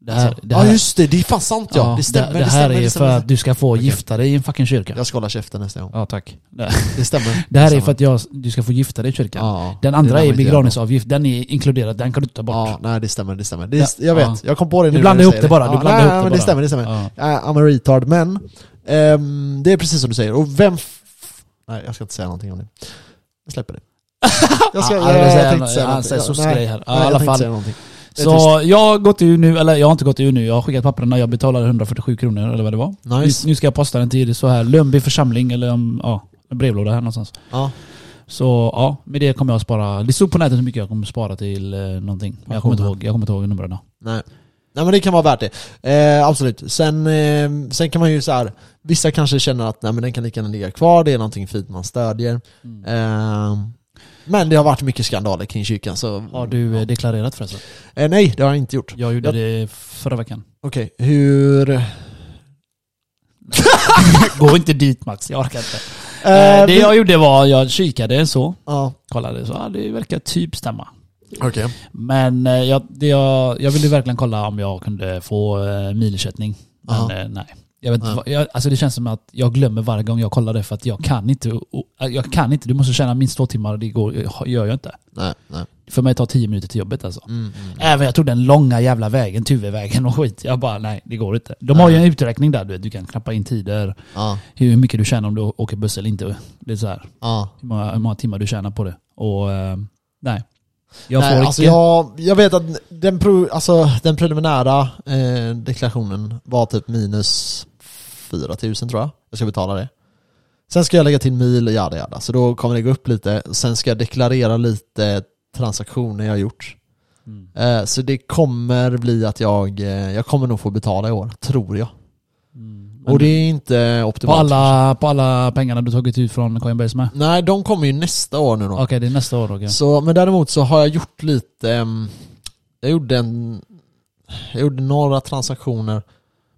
Det här, Alltså, det här, ja just det, det är fan sant ja. det stämmer, det, det, det här stämmer. är det för stämmer. att du ska få gifta dig i en fucking kyrka. Jag ska hålla käften nästa gång. Ja, tack. Det, Det stämmer. det här är stämmer. för att jag, du ska få gifta dig i kyrkan. Ja, Den det andra där är man inte gör då. begravningsavgift. Den är inkluderad. Den kan du ta bort. Ja, nej det stämmer, det stämmer. Det, Ja, Jag ja. vet, jag kom på det nu Du när blandar ihop säger det bara, du Ja, blandar nej, ihop men det bara. Det stämmer, det stämmer. Ja. Ja. I'm a retard, men ehm, det är precis som du säger. Och vem... F- nej, jag ska inte säga någonting om det. Jag släpper det. [LAUGHS] Jag ska, Ja, jag, han vill jag, säga- tänkte säga han säger någonting. sossgrej här. Ja, i alla jag tänkte fall. säga någonting. Det är Så jag har gått ur nu, eller jag har inte gått ur nu. Jag har skickat papperna. Jag betalade 147 kronor eller vad det var. Nice. Nu, nu ska jag posta den till det så här. Lönnby församling eller um, ja, en brevlåda här någonstans. Ja, Så ja, med det kommer jag spara. Det stod på nätet hur mycket jag kommer spara till eh, någonting. Men Jag kommer inte ihåg, jag kommer inte ihåg numren. nej. Nej men det kan vara värt det. Eh, absolut. Sen, eh, sen kan man ju så här. vissa kanske känner att nej, men den kan lika gärna ligga kvar, det är någonting fint man stödjer. Eh, Ehm, men det har varit mycket skandaler kring kyrkan så... Har du eh, deklarerat förresten? Eh, nej, det har jag inte gjort. Jag gjorde Jag- det förra veckan. Okej, hur... Eh, Gå inte dit Max, jag orkar inte. Eh, Eh, det vi- jag gjorde var, jag kikade så, Ja, kollade så, ja, det verkar typ stämma. okej. Men eh, jag, det jag, jag ville verkligen kolla om jag kunde få eh, milersättning. Men Ja. eh, nej. Jag vet, inte Ja. vad- jag, alltså det känns som att jag glömmer varje gång jag kollar det för att jag kan inte. Och, jag kan inte, du måste tjäna minst två timmar och det går, gör jag inte. Nej, nej. För mig tar tio minuter till jobbet alltså. Mm, mm. Även jag tog den långa jävla vägen, Tuvevägen och skit. Jag bara nej, det går inte. De har ju en uträkning där du vet, du kan knappa in tider. Ja, Hur mycket du tjänar om du åker buss eller inte. Det är så här, ja. hur många, hur många timmar du tjänar på det. Och eh, nej. Jag får Nej, inte. alltså jag, jag vet att den, pro, alltså, den preliminära eh, deklarationen var typ minus 4000 tror jag. Jag ska betala det. Sen ska jag lägga till mil och jada jada, så då kommer det gå upp lite. Sen ska jag deklarera lite transaktioner jag har gjort. Mm. Eh, så det kommer bli att jag, eh, jag kommer nog få betala i år, tror jag. Mm. Och det är inte på, optimalt. alla, på alla pengarna du tagit ut från Coinbase med? Nej, de kommer ju nästa år nu då. Okej, det är nästa år Roger. Så, men däremot så har jag gjort lite, ehm, jag gjorde en, jag gjorde några transaktioner.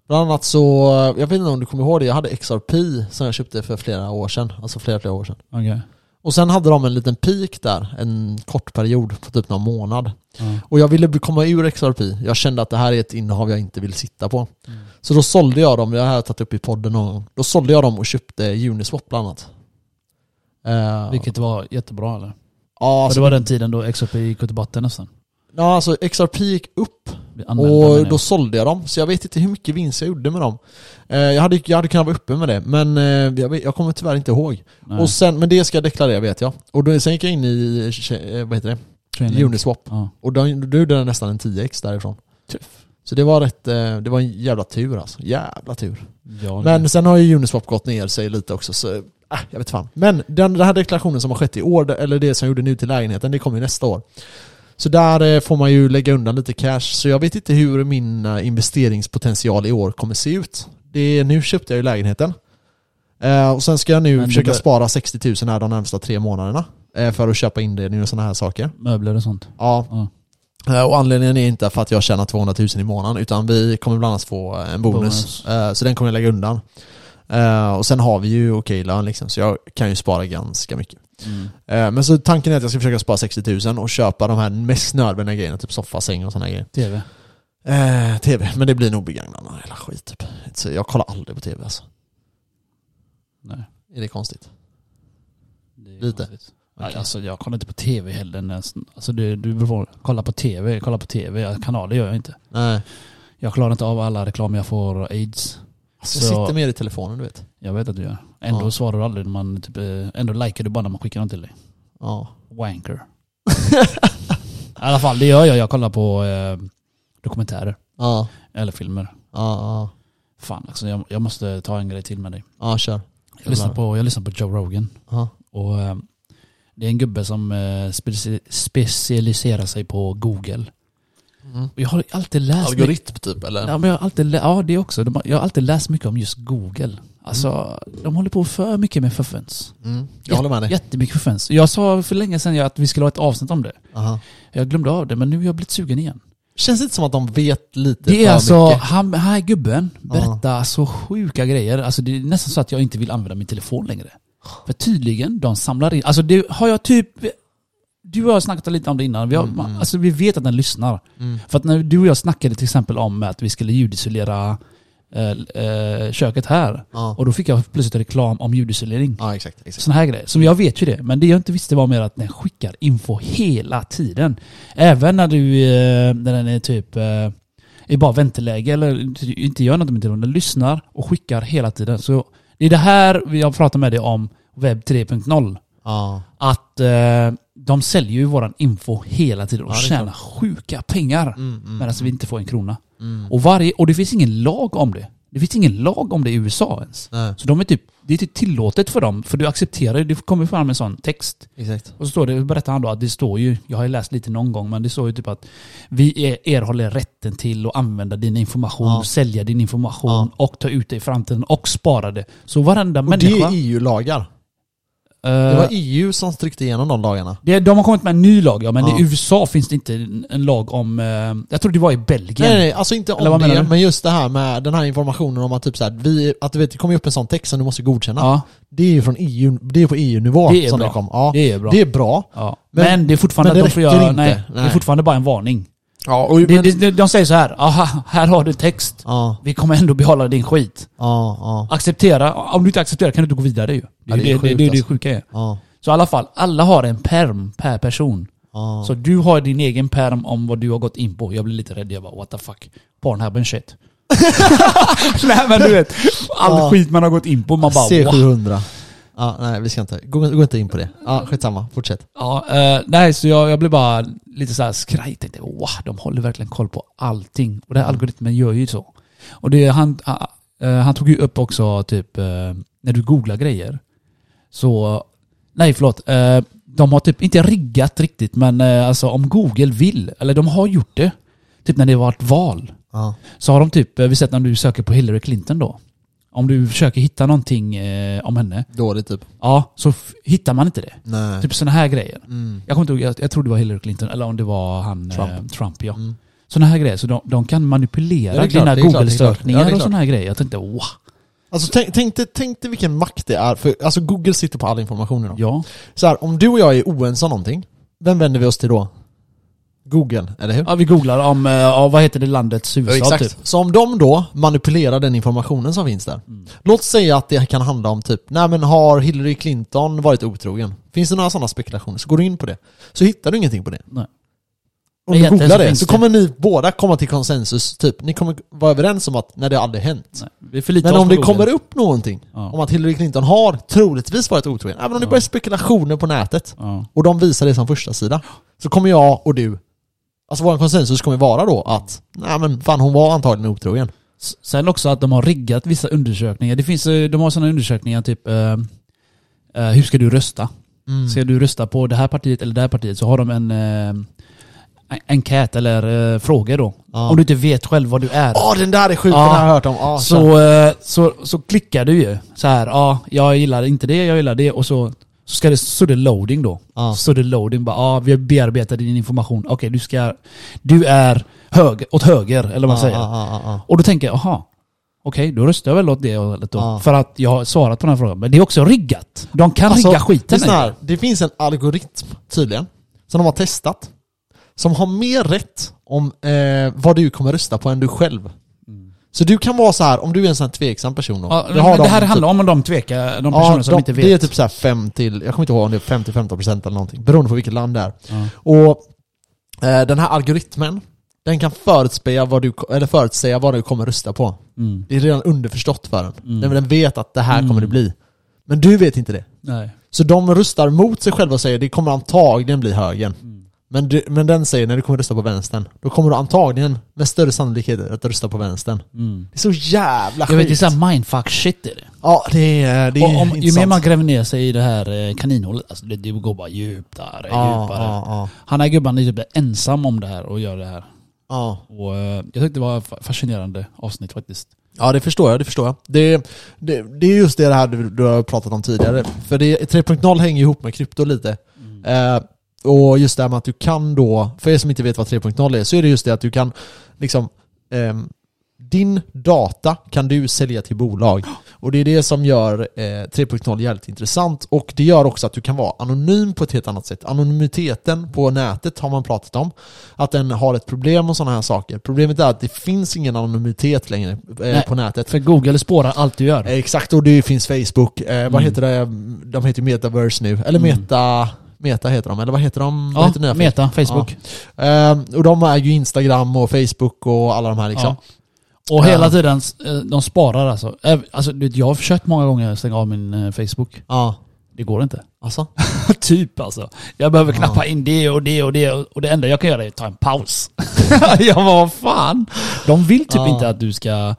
Bland annat så, jag vet inte om du kommer ihåg det, jag hade XRP som jag köpte för flera år sedan. Alltså flera, flera år sedan. Okej. Och sen hade de en liten peak där, en kort period på typ någon månad. Ja. Och jag ville komma ur XRP. Jag kände att det här är ett innehav jag inte vill sitta på. Mm. Så då sålde jag dem, det här har jag tagit upp i podden någon gång. Då sålde jag dem och köpte Uniswap bland annat. Eh, Vilket var jättebra eller? Ja, Alltså, alltså, det var den tiden då XRP gick till botten nästan. ja, alltså XRP gick upp Vi använde den, Och ja. då sålde jag dem, så jag vet inte hur mycket vinst jag gjorde med dem. Eh, Jag hade, jag hade kunnat vara uppe med det, men eh, jag, vet- jag kommer tyvärr inte ihåg. Nej, Och sen, men det ska jag deklarera vet jag. Och då, sen gick jag in i, eh, vad heter det? Chainlink. Uniswap. Ja. Och då, då gjorde den nästan en 10x därifrån. Så det var rätt, eh, det var en jävla tur alltså. Jävla tur. Ja, Men sen har ju Uniswap gått ner sig lite också så, eh, jag vet fan. Men den, den här deklarationen som har skett i år, eller det som jag gjorde nu till lägenheten, det kommer ju nästa år. Så där eh, får man ju lägga undan lite cash, så jag vet inte hur min eh, investeringspotential i år kommer se ut. Det, är- nu köpte jag ju lägenheten. Eh, och sen ska jag nu Men det försöka bör- spara 60 000 här de närmsta tre månaderna. Eh, för att köpa inredning och sådana här saker. Möbler och sånt. Ja. Ja. Eh, Och anledningen är inte för att jag tjänar 200 000 i månaden utan vi kommer bland annat få en bonus. Bonus. Eh, Så den kommer jag lägga undan. Eh, Och sen har vi ju okej lön liksom, så jag kan ju spara ganska mycket. Mm. Eh, Men så tanken är att jag ska försöka spara 60 000 och köpa de här mest nödvändiga grejerna, typ soffa, säng och sådana grejer. TV. Eh, TV, men det blir nog begagnad hela skit typ. Så jag kollar aldrig på TV alltså. Nej. Är det konstigt? det är Lite. konstigt. Nej, Okej. Alltså jag kollar inte på TV heller. ens. Alltså du, du får kolla på TV, kolla på TV. Ja, Kanaler gör jag inte. Nej. Jag klarar inte av alla reklam jag får aids. Alltså, Så- jag sitter mer i telefonen du vet. Jag vet att du gör. Ändå Ja. svarar du aldrig när man, typ, eh, ändå likar du bara när man skickar något till dig. Ja. Wanker. [LAUGHS] I alla fall, det gör jag. Jag kollar på eh, dokumentärer Ja. eller filmer. Ja. Ja. Fan alltså, jag, jag måste ta en grej till med dig. Ja, kör. Jag lyssnar på, jag lyssnar på Joe Rogan. Ja. Och, eh, det är en gubbe som eh, speci- specialiserar sig på Google. Mm. Och Jag har alltid läst... Algoritm typ eller? Ja, men jag har alltid lä- ja, det också. De har, jag har alltid läst mycket om just Google. Alltså, de håller på för mycket med fuffens. Mm. Jag håller med dig. Jättemycket fuffens. Jag sa för länge sedan att vi skulle ha ett avsnitt om det. Aha. Jag glömde av det, men nu har jag blivit sugen igen. Känns inte som att de vet lite Det för är alltså, mycket. han, den här gubben berättar så sjuka grejer. Alltså det är nästan så att jag inte vill använda min telefon längre. För tydligen, de samlar in, alltså det har jag typ, du och jag har snackat lite om det innan, vi, har, man, alltså vi vet att den lyssnar. För att när du och jag snackade till exempel om att vi skulle ljudisolera eh, eh, köket här. Ja. Och då fick jag plötsligt reklam om ljudisolering. Ja, exakt. exakt. Sådana här grejer. Som jag vet ju det. Men det jag inte visste var mer att den skickar info hela tiden. Även när du, eh, när den är typ eh, i bara vänteläge eller inte- inte gör något med telefonen. Den lyssnar och skickar hela tiden. Så det är det här vi har pratat med dig om, webb 3.0. Ja. Att eh, de säljer ju våran info hela tiden och Ja, det är tjänar sjuka pengar. Mm, mm, Medan vi inte får en krona. mm. Och, varje, och det finns ingen lag om det. Det finns ingen lag om det i USA ens. Nej, Så de är typ, det är typ tillåtet för dem, för du accepterar ju, det kommer fram en sån text. exakt. Och så står det, berättar han då att det står ju, jag har ju läst lite någon gång, men det står ju typ att vi er- erhåller rätten till att använda din information, Ja. och sälja din information Ja. och ta ut det i framtiden och spara det. Så varenda Och det människa... är EU-lagar. eh, Det var EU som tryckte igenom de lagarna. det, de har kommit med en ny lag, ja, men Ja. i USA finns det inte en, en lag om... eh, jag tror det var i Belgien. Nej, nej, nej, alltså inte Eller om vad menar det, du? men just det här med den här informationen om att typ så här, vi, att du vet, det kommer ju upp en sån text som du måste godkänna. Ja, Det är ju från EU, det är på EU-nivå Det är som bra. det kom. Ja, det är bra. det är bra. ja. Men- men, det är fortfarande men det att de får räcker göra... inte. Nej, det är Nej. fortfarande bara en varning. Ja, och, Det, det, de säger så här, aha, här har du text. ja, Vi kommer ändå behålla din skit. ja, ja, Acceptera. Om du inte accepterar kan du inte gå vidare ju. Det Ja, är ju det är det, det, sjukt det, är det alltså. sjuka är. ja, Så i alla fall, alla har en perm per person. ja. Så du har din egen perm om vad du har gått in på. Jag blir lite rädd, jag bara what the fuck. Pornhub and shit. [LAUGHS] Nej men du vet, all Ja. skit man har gått in på. Man bara wow. C700. Ja, nej, vi ska inte. Gå, gå inte in på det. Ja, skitsamma. Fortsätt. Ja, eh, nej, så jag, jag blev bara lite så här skraj. Tänkte, wow, de håller verkligen koll på allting. Och den här algoritmen gör ju så. Och det, han, ah, eh, han tog ju upp också typ eh, när du googlar grejer. Så, nej förlåt. Eh, de har typ inte riggat riktigt men eh, alltså om Google vill, eller de har gjort det. Typ när det var ett val. Ja, Så har de typ, eh, vi sett när du söker på Hillary Clinton då. Om du försöker hitta någonting eh, om henne, dåligt typ. ja, så f- hittar man inte det. Nej. Typ sådana här grejer. Mm. Jag kommer inte ihåg, jag, jag tror det var Hillary Clinton, eller om det var han Trump. Trump. Eh, Trump ja. Mm. Sådana här grejer, så de, de kan Ja, manipulera det är klart, dina det är klart, det är Google-sökningar klart. Ja, det är och klart. sådana här grejer. Jag tänkte wow. Alltså tänk, tänk, dig, tänk dig vilken makt det är, för alltså Google sitter på all information idag. Ja. Så här, om du och jag är oense om någonting, vem vänder vi oss till då? Google, eller hur? ja, vi googlar om, eh, ja, vad heter det landets huvudstad typ? Så om de då manipulerar den informationen som finns där. Mm. Låt säga att det kan handla om typ, nej men har Hillary Clinton varit otrogen? Finns det några sådana spekulationer? Så går du in på det. Så hittar du ingenting på det. Nej. Men Om du egentligen googlar så det finns så det. kommer ni båda komma till konsensus, typ. Ni kommer vara överens om att, nej det har aldrig hänt. Nej, vi förlitar Men oss om på det Google. kommer upp någonting Ja. om att Hillary Clinton har troligtvis varit otrogen, även om det bara är spekulationer på nätet, Ja. och de visar det som första sida så kommer jag och du, alltså vår konsensus kommer vara då att, nej men fan hon var antagligen otrogen. S- Sen också att de har riggat vissa undersökningar. Det finns, eh, de har sådana undersökningar typ, eh, eh, Mm. hur ska du rösta? Ska du rösta på det här partiet eller det här partiet? Så har de en, eh, en- enkät eller eh, frågor då. Ja. Om du inte vet själv vad du är. Åh den där är sjuk, Ja. den har jag hört om. Ah, Ja, kör. så, eh, så, så klickar du ju så här, ja, jag gillar inte det, jag gillar det och så, så ska det sudda loading då. Ja. Sudda loading bara, ja vi bearbetar din information. Okej, du ska, du är hög, åt höger eller vad man Ja, säger. ja, ja, ja. Och då tänker jag, aha. Okej, då röstar jag väl åt det hållet då. Ja. För att jag har svarat på den här frågan. Men det är också riggat. De kan Alltså, rigga skiten lyssna i här. Det finns en algoritm tydligen, som de har testat. Som har mer rätt om eh, vad du kommer rösta på än du själv. Så du kan vara så här, om du är en sån här tveksam person. då, Mm. ja, det men har det de här typ- handlar om om de tvekar, de personer som de- inte Det är vet. typ så här 5 till, jag kommer inte ihåg om det är 5 till 15 procent eller någonting, beroende på vilket land det är. Ja. Och eh, den här algoritmen, den kan förutsäga vad, du, eller förutsäga vad du kommer rösta på. Mm. Det är redan underförstått för den. Mm. Den, den vet att det här Mm. kommer det bli. Men du vet inte det. Nej. Så de röstar mot sig själva och säger det kommer antagligen bli högern. Mm. Men, du, men den säger när du kommer rösta på vänstern, då kommer du antagligen med större sannolikhet att rösta på vänstern. Mm. Det är så jävla Jag vet, det är sjukt. såhär mindfuck shit är det. Ja, det är, det är Och om, ju mer intressant. man gräver ner sig i det här eh, kaninhålet, alltså det, det går bara djupare, ja, djupare. ja, ja, Han här gubben är typ ensam om det här och gör det här. ja. Och, eh, jag tyckte det var fa- fascinerande avsnitt faktiskt. Ja, det förstår jag. Det förstår jag. Det, det, det är just det här du, du har pratat om tidigare. För det, 3.0 hänger ihop med krypto lite. Eh, och just det här med att du kan då, för er som inte vet vad 3.0 är, så är det just det att du kan liksom ehm, din data kan du sälja till bolag. Och det är det som gör eh, 3.0 jävligt intressant. Och det gör också att du kan vara anonym på ett helt annat sätt. Anonymiteten på nätet har man pratat om. Att den har ett problem och sådana här saker. Problemet är att det finns ingen anonymitet längre eh, Nej. på nätet. För Google spårar allt du gör. Eh, Exakt, och det finns Facebook. Eh, Vad heter det? De heter ju Metaverse nu. Eller Mm. Meta... Meta heter de, eller vad heter de? Vad Ja, heter nya Meta, Facebook. Ehm, och de är ju Instagram och Facebook och alla de här liksom. Ehm. Ja. Och hela Ja. tiden, eh, de sparar alltså. Äv- alltså du vet, jag har försökt många gånger stänga av min eh, Facebook. Ja. Det går inte. [LAUGHS] Alltså? typ alltså. Jag behöver Ja. knappa in det och det och det. Och det enda jag kan göra är att ta en paus. [LAUGHS] jag bara, vad fan? De vill typ Ja. inte att du ska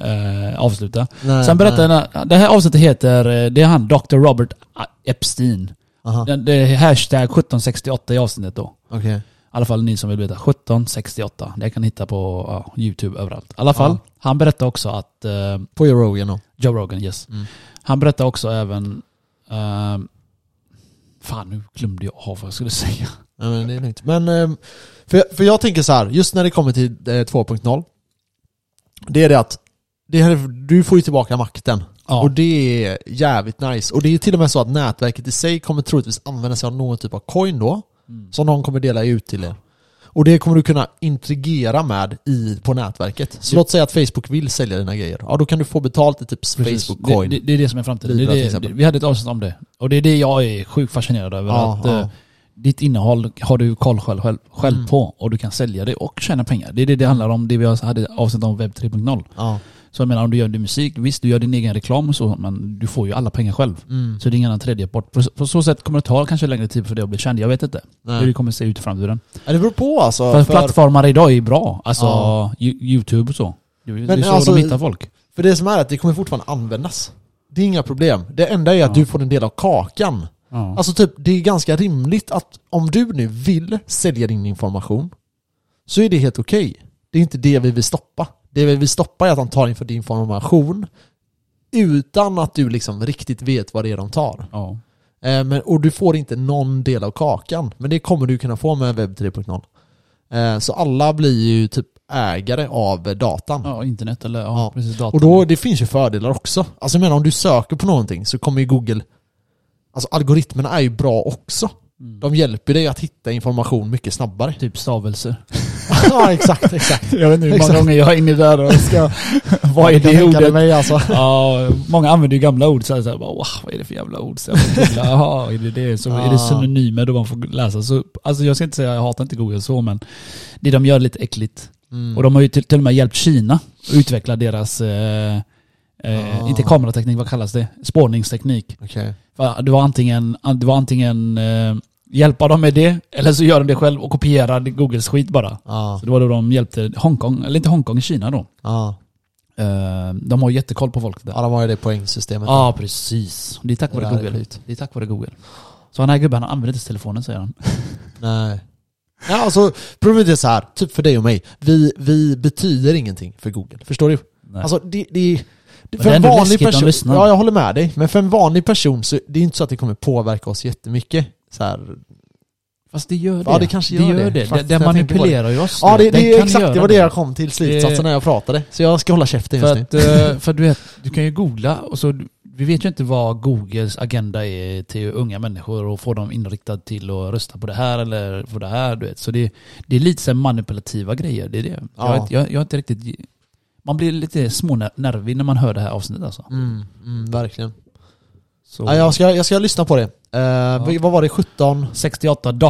eh, avsluta. Nej, Sen berättar nej. jag, när- det här avsnittet heter, eh, det är han, Dr. Robert Epstein. Aha, Den- Det är hashtag 1768 i avsnittet då. okej. I alla fall ni som vill veta. 1768. Det kan ni hitta på ja, YouTube överallt. I alla fall, Ja. han berättar också att eh, På Joe Rogan då. Joe Rogan, yes. Mm. Han berättar också även... ehm, fan, nu glömde jag av vad jag skulle säga. Ja, men det är lugnt. Men, ehm, för, jag- för jag tänker så här, just när det kommer till eh, 2.0. Det är det att det här, du får ju tillbaka makten. Ja. Och det är jävligt nice. Och det är till och med så att nätverket i sig kommer troligtvis använda sig av någon typ av coin då. Mm. Som någon kommer dela ut till er. Och det kommer du kunna interagera med i, på nätverket. Så Ja. låt säga att Facebook vill sälja dina grejer. Ja, då kan du få betalt i typ Precis. Facebook Det, coin. det, det är det som är framtiden. Det Libra till är det, exempel. vi hade ett avsnitt om det. Och det är det jag är sjukt fascinerad över. Ja, att ja. Mm. eh, Ditt innehåll har du koll själv, själv, själv på och du kan sälja det och tjäna pengar. Det är det det handlar om, det vi hade avsnitt om webb 3.0. Ja. Så jag menar om du gör din musik, visst du gör din egen reklam och så, men du får ju alla pengar själv. Mm. Så det är ingen annan tredje part. På, på så sätt kommer det ta kanske längre tid för dig att bli känd. Jag vet inte hur det Nej. kommer se ut i framtiden. Ja, Det beror på alltså. För, för- plattformar idag är bra. Alltså Ja. Yo- YouTube och så. Det är Men så alltså- de hittar folk. För det som är att det kommer fortfarande användas. Det är inga problem. Det enda är att Ja. du får en del av kakan. Ja. Alltså typ, det är ganska rimligt att om du nu vill sälja din information så är det helt okej. Det är inte det vi vill stoppa. Det vi vill stoppa är att de tar in för din information utan att du liksom riktigt vet vad det är de tar. ja. Eh, men, och du får inte någon del av kakan. Men det kommer du kunna få med webb 3.0. Eh, så alla blir ju typ ägare av eh, datan. Ja, internet eller ja, Ja. precis datorn. Och då, det finns ju fördelar också. Alltså jag menar om du söker på någonting så kommer ju Google... Alltså algoritmerna är ju bra också. Mm. De hjälper dig att hitta information mycket snabbare. Typ stavelser. [LAUGHS] ja, exakt, exakt. [LAUGHS] Jag vet [LAUGHS] inte hur många gånger jag är inne där och [LAUGHS] ska... vad är Jag kan det tänka ordet? Mig, alltså. Ja, många använder ju gamla ord så här, så här bara, wow, vad är det för jävla ord? Så jag bara, googlar, Jaha, är det det? Så är det Ah. synonymer då man får läsa? Så, alltså jag ska inte säga, jag hatar inte Google så, men det de gör är lite äckligt. Mm. Och de har ju till, till och med hjälpt Kina att utveckla deras, eh, eh, Ah. inte kamerateknik, vad kallas det? Spårningsteknik. Okej. För Det var antingen, det var antingen eh, hjälpa dem med det, eller så gör de det själv och kopierar Googles skit bara. Ja, Så det var då de hjälpte Hongkong, eller inte Hongkong, Kina då. ja. Eh, de har jättekoll på folk där. Ja, de har ju det poängsystemet. Ja, precis. Det är tack Det vare där är Google. skit. Det är tack vare Google. Så den här gubben, han använder inte telefonen säger han. Nej. Ja, alltså, problemet är så här, typ för dig och mig, vi, vi betyder ingenting för Google. Förstår du? Nej. Alltså det, det, det är ändå läskigt att lyssna. Ja, jag håller med dig. Men för en vanlig person så det är inte så att det kommer påverka oss jättemycket. Så här, Fast det gör det. Ja, det kanske gör det. det. Faktiskt, Den jag tänker på manipulerar ju oss. ja, det, Den det är kan exakt det göra var det jag kom till slutsatsen Det- när jag pratade. Så jag ska hålla käften just För nu. att, eh, för att du, vet, du kan ju googla och så, vi vet ju inte vad Googles agenda är till unga människor och få dem inriktad till att rösta på det här eller på det här. Du vet. Så det, det är lite så här manipulativa grejer, det är det. Jag, Ja. är inte- jag, jag är inte riktigt... Man blir lite smånervig när man hör det här avsnittet alltså. Mm, mm, verkligen. Så, Ja, jag, ska, jag ska lyssna på det. Eh, vi- Vad var det? 17? 68 Dr.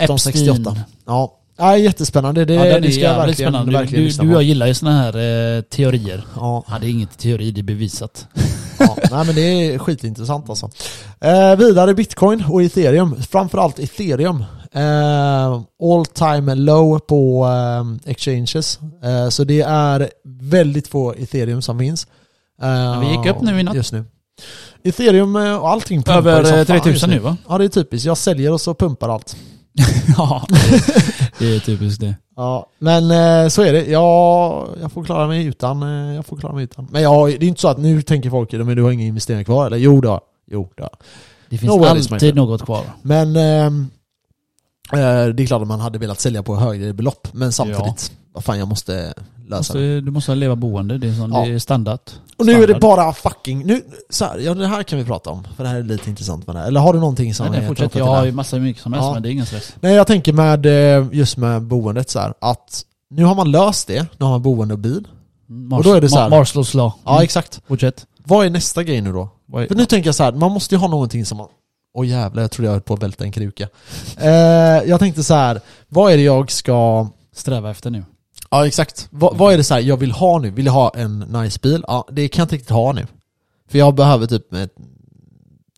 1768. Epstein. Ja. ja, jättespännande. Det, ja, den det är ska jag jävligt verkligen, spännande. Du, verkligen du, lyssna du och på. jag gillar ju sådana här eh, teorier. Ja, Ja, det är inget teori, det är bevisat. ja. Nej, men det är skitintressant alltså. Eh, vidare bitcoin och ethereum. Framförallt ethereum. Eh, all time low på eh, exchanges. Eh, så det är väldigt få ethereum som finns. Eh, vi gick upp nu i natt. Just nu. Ethereum eh, och allting pumpar ju som Över eh, fan just 3000 nu va? Ja det är typiskt, jag säljer och så pumpar allt. [LAUGHS] Ja, det- det är typiskt det. Ja, men eh, så är det. Jag, jag får klara mig utan. eh, Jag får klara mig utan. Men jag, har- det är inte så att nu tänker folk men du har inga investeringar kvar eller? Jo då. Jo då. Det finns No worries, alltid något kvar. Men ehm, eh, det är klart att man hade velat sälja på högre belopp. Men samtidigt, vad fan jag måste lösa Måste, det. Alltså, du måste ha leva boende, det är, sån, Ja. det är standard. Och nu är det standard. bara fucking... Nu, så här, ja, det här kan vi prata om. För det här är lite intressant med det här. Eller har du någonting som... Nej, är nej, fortsätt, kopplat till jag det här? har ju massa mycket som helst Ja. men det är ingen stress. Nej, jag tänker med eh, just med boendet så här att nu har man löst det. Nu har man boende och bil. Mars, då är det så här- Ma- Marshalls law. Ja, Mm, exakt. fortsätt. Vad är nästa grej nu då? För nu tänker jag så här, man måste ju ha någonting som man... Åh jävlar, jag trodde jag höll på att välta en kruka. Eh, jag tänkte så här, vad är det jag ska... Sträva efter nu. Ja exakt. Va, vad är det så här jag vill ha nu? Vill jag ha en nice bil? Ja, det kan jag inte riktigt ha nu. För jag behöver typ ett...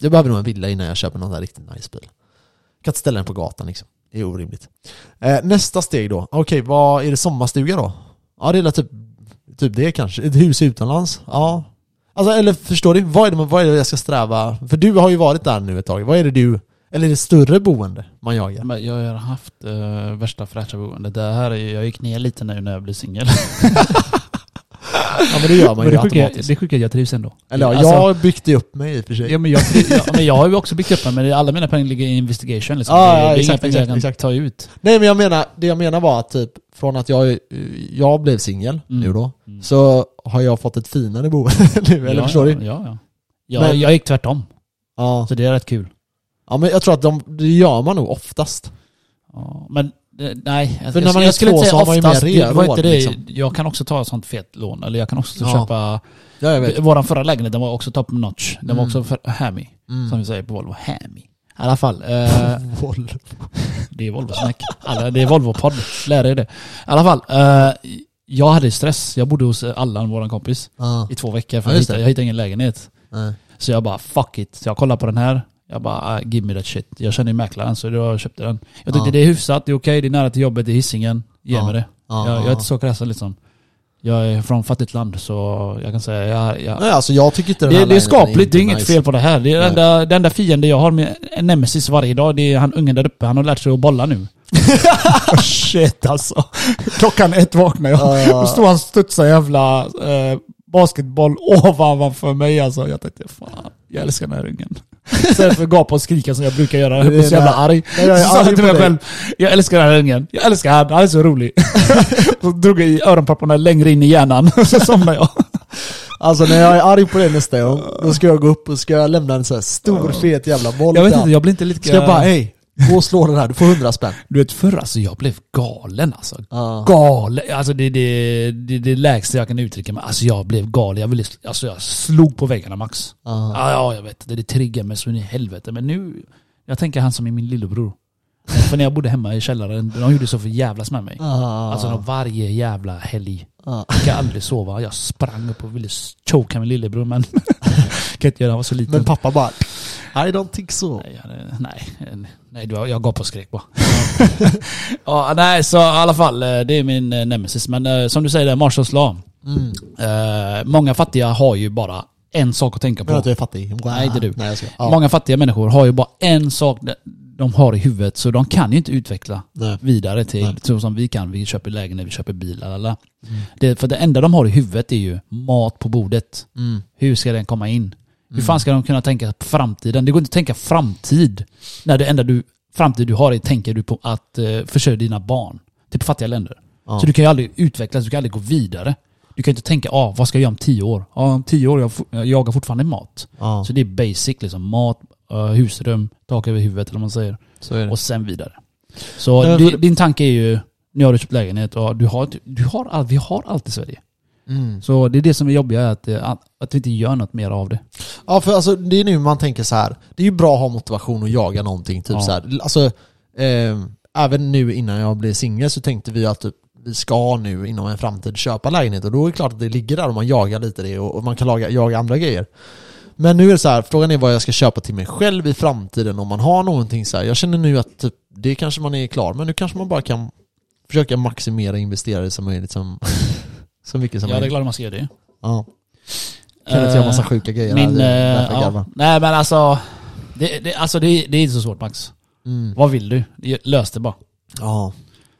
Jag behöver nog en villa innan jag köper någon där riktigt nice bil. Jag kan inte ställa den på gatan liksom. Det är orimligt. Eh, nästa steg då. Okej, vad är det sommarstuga då? Ja, det är väl typ, typ det kanske. Ett hus utomlands. Ja. Alltså, eller förstår du? Vad är, det, man- vad är det jag ska sträva? För du har ju varit där nu ett tag. Vad är det du... Eller är det större boende man jagar? Men jag har haft eh, värsta fräscha boendet. Det här är, ju- jag gick ner lite nu när jag blev singel. Ja men det gör man [LAUGHS] Men ju det sjuka är- automatiskt. det sjuka är att jag trivs ändå. Eller ja, Alltså- jag har byggt upp mig i och för sig. [LAUGHS] Ja, men jag, ja, men jag har ju också byggt upp mig, men det- alla mina pengar ligger i investigation. Liksom. Ja, det, Ah, ja, det är inga exakt, pengar jag exakt, kan exakt. ta ut. Nej men jag menar, det jag menar var att typ från att jag, jag blev singel Mm. nu då, Mm. så har jag fått ett finare boende [LAUGHS] nu, eller ja, förstår ja, du? Ja, ja. Jag, Men- Alltså, jag gick tvärtom, Ja. så det är rätt kul. ja, men jag tror att de, det gör man nog oftast. Ja, men eh, nej, jag, För när jag- man är jag skulle två inte säga så har man ju mer oftast, det var råd, inte det. liksom. Jag kan också ta ett sånt fett lån, eller jag kan också Ja, köpa... Ja, jag Vår förra lägenhet, den var också top notch. Den Mm. var också för hammy, som Mm. vi säger på Volvo. Hammy. I alla fall, eh, Volvo. [LAUGHS] det är Volvo-snack. Alla, det är Volvo-podd, lär er det. I alla fall, eh, jag hade stress. Jag bodde hos eh, Allan, vår kompis, Ja. i två veckor för Ja, jag, just hittade, det. jag hittade ingen lägenhet. Nej. Så jag bara fuck it. Så jag kollade på den här. Jag bara ah, give me that shit. Jag känner ju mäklaren så då köpte den. Jag tyckte Ja. det är hyfsat, det är okej, det är nära till jobbet, det är Hisingen. Ge Ja. mig det. Ja, Jag, jag är ja. inte så kräsen liksom. Jag är från fattigt land så jag kan säga jag, jag, Nej alltså jag tycker inte den det, här det är lägenheten skapligt, det är inte inget nice. fel på det här. Det är den Nej. enda, den enda fiende jag har med en nemesis varje dag, det är han ungen där uppe. Han har lärt sig att [LAUGHS] bolla nu. Shit alltså. Klockan ett vaknar jag. Ja. Då står han och studsar jävla eh, basketboll ovanför mig alltså. Jag tänkte fan, jag älskar den här ungen. [LAUGHS] Istället för att gapa och skrika som jag brukar göra. Jag blir så jävla arg. Nej, jag är [LAUGHS] Så sa arg jag till på mig dig. själv, jag älskar den här ungen. Jag älskar han, han är [LAUGHS] så rolig. så drog jag i öronpapperna längre in i hjärnan, [LAUGHS] så somnade jag. Alltså när jag är arg på det nästa gång, då ska jag gå upp och ska jag lämna en så här stor fet jävla boll Jag vet där. inte, jag blir inte lika... Ska jag bara, hej, gå och slå den här, du får hundra spänn. Du vet förr alltså, jag blev galen alltså. Ja. Galen, alltså det är det, det, det lägsta jag kan uttrycka mig. Alltså jag blev galen, jag, ville, alltså, jag slog på väggarna max. Ja. Ja, ja jag vet, det, det triggar mig så in i helvete. Men nu, jag tänker han som är min lillebror. för när jag bodde hemma i källaren, de gjorde så för jävlas med mig. Ah. Alltså de varje jävla helg. Ja. Jag kan aldrig sova, jag sprang upp och ville choka min lillebror men [LAUGHS] kan inte göra, han var så liten. Men pappa bara I don't think so. Nej, jag- nej, nej, det var- jag gav på skrek bara. [LAUGHS] ja, nej, så i alla fall, eh, det är min eh, nemesis. Men eh, som du säger, där, Marshalls law. Mm. Eh, många fattiga har ju bara en sak att tänka Men på. att jag är fattig. Wow. Nej, inte du. Nej, jag ska. typ. Ja. Många fattiga människor har ju bara en sak. de har i huvudet. Så de kan ju inte utveckla Nej. vidare till Nej. Mm. så som vi kan. Vi köper lägenhet, vi köper bil. Alla. Det, för det enda de har i huvudet är ju mat på bordet. Mm. Hur ska den komma in? Hur Mm. fan ska de kunna tänka på framtiden? Det går inte att tänka framtid när det enda du, framtid du har är tänker du på att eh, försörja dina barn. Typ fattiga länder. Ja. Så du kan ju aldrig utvecklas, du kan aldrig gå vidare. Du kan ju inte tänka, ah, vad ska jag göra om tio år? Ah, om tio år, jag, fo- jag jagar fortfarande mat. ja. Så det är basic liksom. Mat, eh, husrum, tak över huvudet eller vad man säger. Så är det. Och sen vidare. Så Nej, di- för- din tanke är ju, nu har du köpt lägenhet och du har, du har, all- vi har allt i Sverige. Mm. Så det är det som är jobbigt, att, eh, att, att vi inte gör något mer av det. Ja för alltså det är nu man tänker så här. det är ju bra att ha motivation att jaga någonting. Typ Ja. så här. Alltså, eh, även nu innan jag blev singel så tänkte vi att typ, vi ska nu inom en framtid köpa lägenhet och då är det klart att det ligger där och man jagar lite det och, och man kan laga, jaga andra grejer. Men nu är det så här, frågan är vad jag ska köpa till mig själv i framtiden om man har någonting så här. Jag känner nu att typ, det kanske man är klar men nu kanske man bara kan försöka maximera investerare som möjligt som, [LAUGHS] så mycket som Ja, det är möjligt. klart man ska göra det. Eh, Ja. Kenneth gör massa sjuka grejer här, Min, det är eh, därför jag garvar. ja. Nej men alltså, det, det, alltså det, det är inte så svårt Max. Mm. Vad vill du? Lös det bara. Ja.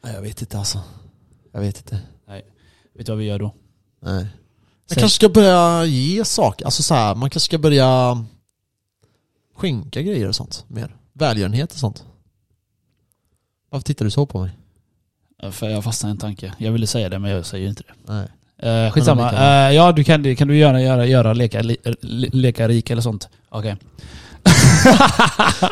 Nej, jag vet inte alltså. Jag vet inte. Vet du vad vi gör då? Nej. Man Säg. kanske ska börja ge saker. Alltså så här, man kanske ska börja skänka grejer och sånt mer. Välgörenhet och sånt. Varför tittar du så på mig? Eh, För jag fastnade i en tanke. Jag ville säga det men jag säger inte det. Nej. Eh, skitsamma. Men det kan- Eh, ja, du kan, kan du göra, göra, göra leka, li, le- leka rik eller sånt. Okej.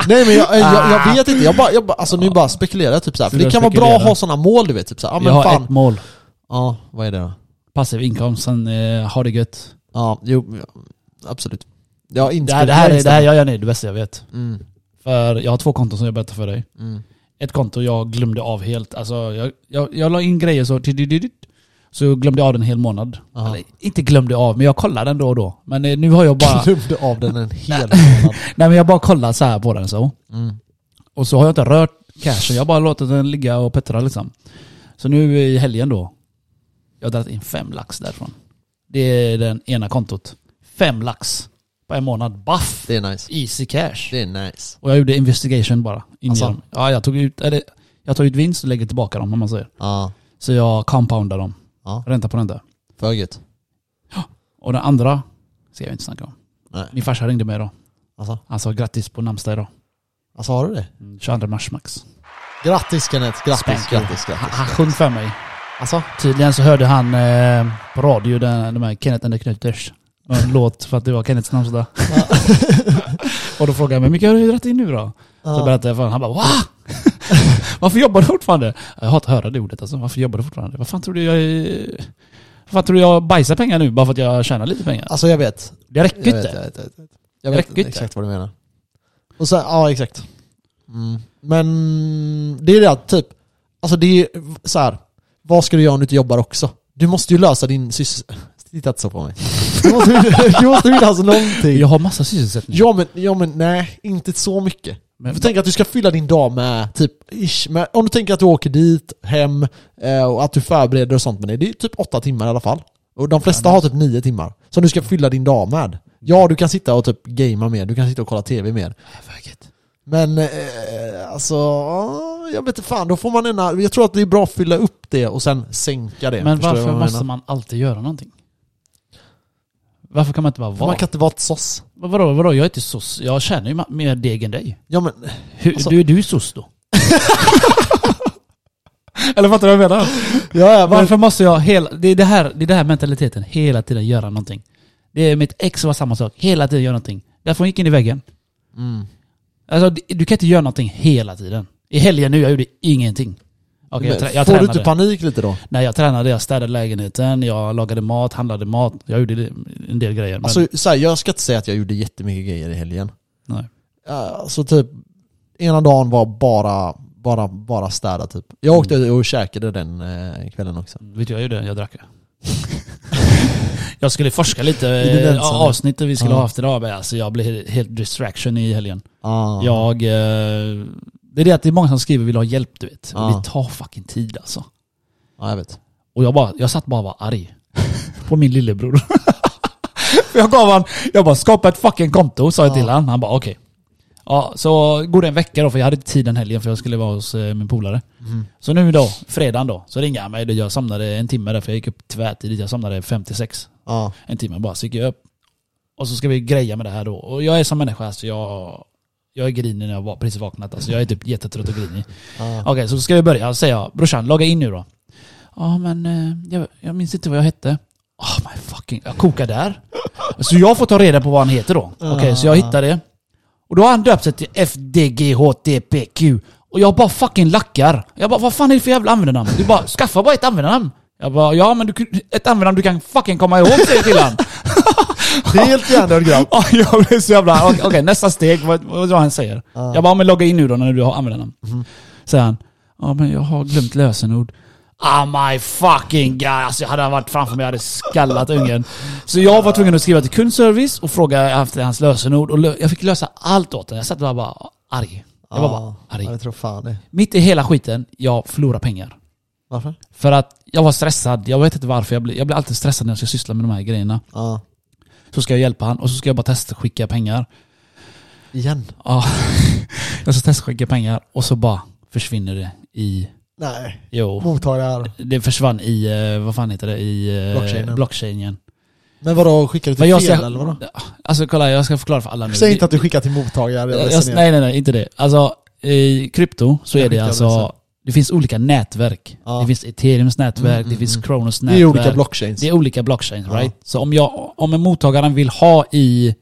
Nej men jag, jag, jag vet inte. Jag bara, jag bara, alltså nu bara spekulerar jag typ så här. För Du det kan vara bra att spekulerar. ha sådana mål du vet. Typ så här, ja jag men har fan. ett mål. Ja, vad är det då? Passiv inkomst, sen eh, har det gött. Ja, jo, absolut. Jag har Det inte här, det här, är, det här jag gör nu är det bästa jag vet. Mm, För jag har två konton som jag berättar för dig. mm. ett konto jag glömde av helt. Alltså, jag, jag, jag la in grejer så... Så glömde jag av den en hel månad. Aha. Eller, inte glömde av, men jag kollade den då och då. Men eh, nu har jag bara... Glömde av den en hel [LAUGHS] månad. nej men jag bara kollat så här på den så. Mm. Och så har jag inte rört cashen. Jag har bara låtit den ligga och pettra liksom. Så nu i helgen då. Jag har dragit in fem lax därifrån. Det är den ena kontot. Fem lax på en månad. Baff! Det är nice. Easy cash. Det är nice. Och jag gjorde investigation bara. In i Alltså? dem. Ja, jag tog ut... Eller, jag tar ut vinst och lägger tillbaka dem om man säger. Ja, Så jag compoundar dem. Ja. Ränta på ränta. för gött. Och den andra ska jag inte snacka om. Nej. Min farsa ringde mig idag. Alltså, Han sa grattis på namnsdag idag. alltså har du det? 22 mars max. Grattis Kenneth, grattis, Spank you. grattis, Han, grattis. han sjöng för mig. Alltså, Tydligen så hörde han eh, på radio den, de här Kenneth and the Knutters. Och En låt för att det var Kenneths namnsdag. [LAUGHS] och då frågade jag mig, mycket har du dragit in nu då? Så berättade jag för honom, han bara va? [LAUGHS] Varför jobbar du fortfarande? Jag hatar att höra det ordet alltså, varför jobbar du fortfarande? Vad fan tror du jag är... Vad fan tror du jag bajsar pengar nu bara för att jag tjänar lite pengar? alltså jag vet. Det räcker Jag vet, inte. jag vet, jag vet. Jag vet Räcker inte. exakt vad du menar. Och sen, ja exakt. Mm. Men det är det att typ, alltså det är så här. vad ska du göra om du inte jobbar också? Du måste ju lösa din sys... Titta inte så på mig. Du måste [LAUGHS] ju [LAUGHS] du måste ju lösa någonting. Jag har massa sysselsättningar. Ja men, ja men nej, inte så mycket. Men- Men, tänk att du ska fylla din dag med typ, ish, med, om du tänker att du åker dit, hem eh, och att du förbereder och sånt med det. Det är typ åtta timmar i alla fall. Och de flesta har typ nio timmar. Som du ska fylla din dag med. Ja, du kan sitta och typ gamea mer, du kan sitta och kolla tv mer. Men eh, alltså, ja, jag vet inte fan, då får man en, jag tror att det är bra att fylla upp det och sen sänka det. Men Förstår du varför vad jag måste menar? man alltid göra någonting? Varför kan man inte bara För vara? man kan inte vara ett soss. Vad- Vadå, vadå, jag är inte soss. Jag tjänar ju ma- mer deg än dig. Ja men, Hur, Alltså- du, du är soss då? [LAUGHS] Eller fattar du vad jag menar? ja, ja, men, Varför måste jag hela... Det är det här, det är det här mentaliteten. Hela tiden göra någonting. Det är mitt ex var samma sak. Hela tiden göra någonting. Därför hon gick in i väggen. mm. Alltså, d- du kan inte göra någonting hela tiden. I helgen nu, jag gjorde ingenting. Okej, jag, Men trä- jag Får du tränade. inte panik lite då? Nej, jag tränade, jag städade lägenheten, jag lagade mat, handlade mat. Jag gjorde en del grejer. Men, Alltså så här, jag ska inte säga att jag gjorde jättemycket grejer i helgen. nej. Ja, Så typ, ena dagen var bara, bara, bara städa typ. Jag åkte Mm. och käkade den eh, kvällen också. Vet du vad jag gjorde? Jag drack. jag skulle forska lite I din eh, ensam. avsnittet vi skulle Ja. ha haft idag. Men alltså, jag blev helt distraction i helgen. Ah. Jag... Eh, det är det att det är många som skriver vill ha hjälp du vet. Ja. Det tar fucking tid alltså. Ja, jag vet. Och jag, bara, jag satt bara och var arg. [LAUGHS] På min lillebror. [LAUGHS] För jag gav han, jag bara skapa ett fucking konto sa jag Ja. till han. Han bara okej. Ja, så går det en vecka då, för jag hade inte tid den helgen för jag skulle vara hos eh, min polare. Så nu då, fredagen då, så ringde han mig. Jag somnade en timme där, för jag gick upp tvärtidigt. Jag somnade 56. Ja. En timme bara, så gick jag upp. Och så ska vi greja med det här då. Och jag är som människa, alltså jag, jag är grinig när jag va- precis vaknat. Alltså jag är typ jättetrött och grinig. Ja. [LAUGHS] Okej, så ska vi börja. Så säger jag, brorsan, logga in nu då. Ja, men eh, jag, jag minns inte vad jag hette. Oh my fucking... Jag kokar där. Så jag får ta reda på vad han heter då. Okej, så jag hittar det. Och då har han döpt sig till FDGHTPQ. Och jag bara fucking lackar. Jag bara, vad fan är det för jävla användarnamn? Du bara, skaffa bara ett användarnamn. Jag bara, ja men du, kun- ett användarnamn du kan fucking komma ihåg, säger killen. Helt hjärndöd grabb. Ja, [LAUGHS] jag blev så jävla... Okej, nästa steg. Vad, vad han säger. Jag bara, men logga in nu då när du har användarnamn. Säger han. Ja, men jag har glömt lösenord. Ah my fucking god. Alltså hade han varit framför mig, jag hade skallat ungen. Så jag var tvungen att skriva till kundservice och fråga efter hans lösenord. Och lö- jag fick lösa allt åt honom. Jag satt där och bara arg. Jag var bara Ah, Ja, arg. jag tror fan det. Mitt i hela skiten, jag förlorar pengar. Varför? För att jag var stressad. Jag vet inte varför. Jag blir, jag blir alltid stressad när jag ska syssla med de här grejerna. Ja. Så ska jag hjälpa han och så ska jag bara testa skicka pengar. Igen? Ja. [LAUGHS] Jag ska testskicka pengar och så bara försvinner det i... Nej. Jo. Mottagare. Det försvann i, eh, vad fan heter det, i eh, Blockchainen. blockchainen. Men vadå, skickar du Men till jag fel ska, eller vadå? alltså kolla, jag ska förklara för alla nu. Säg inte att du skickar till mottagare. jag, Jag, jag, Nej nej nej, inte det. Alltså i krypto så Jag är det skickar alltså, adressen. det finns olska nätverk. Ja. Mm, Det finns ethereums nätverk, det finns Kronos det nätverk. är ju olika blockchains. Det är olika blockchains, Ja. right? Så om, jag, om en mottagaren vill ha i,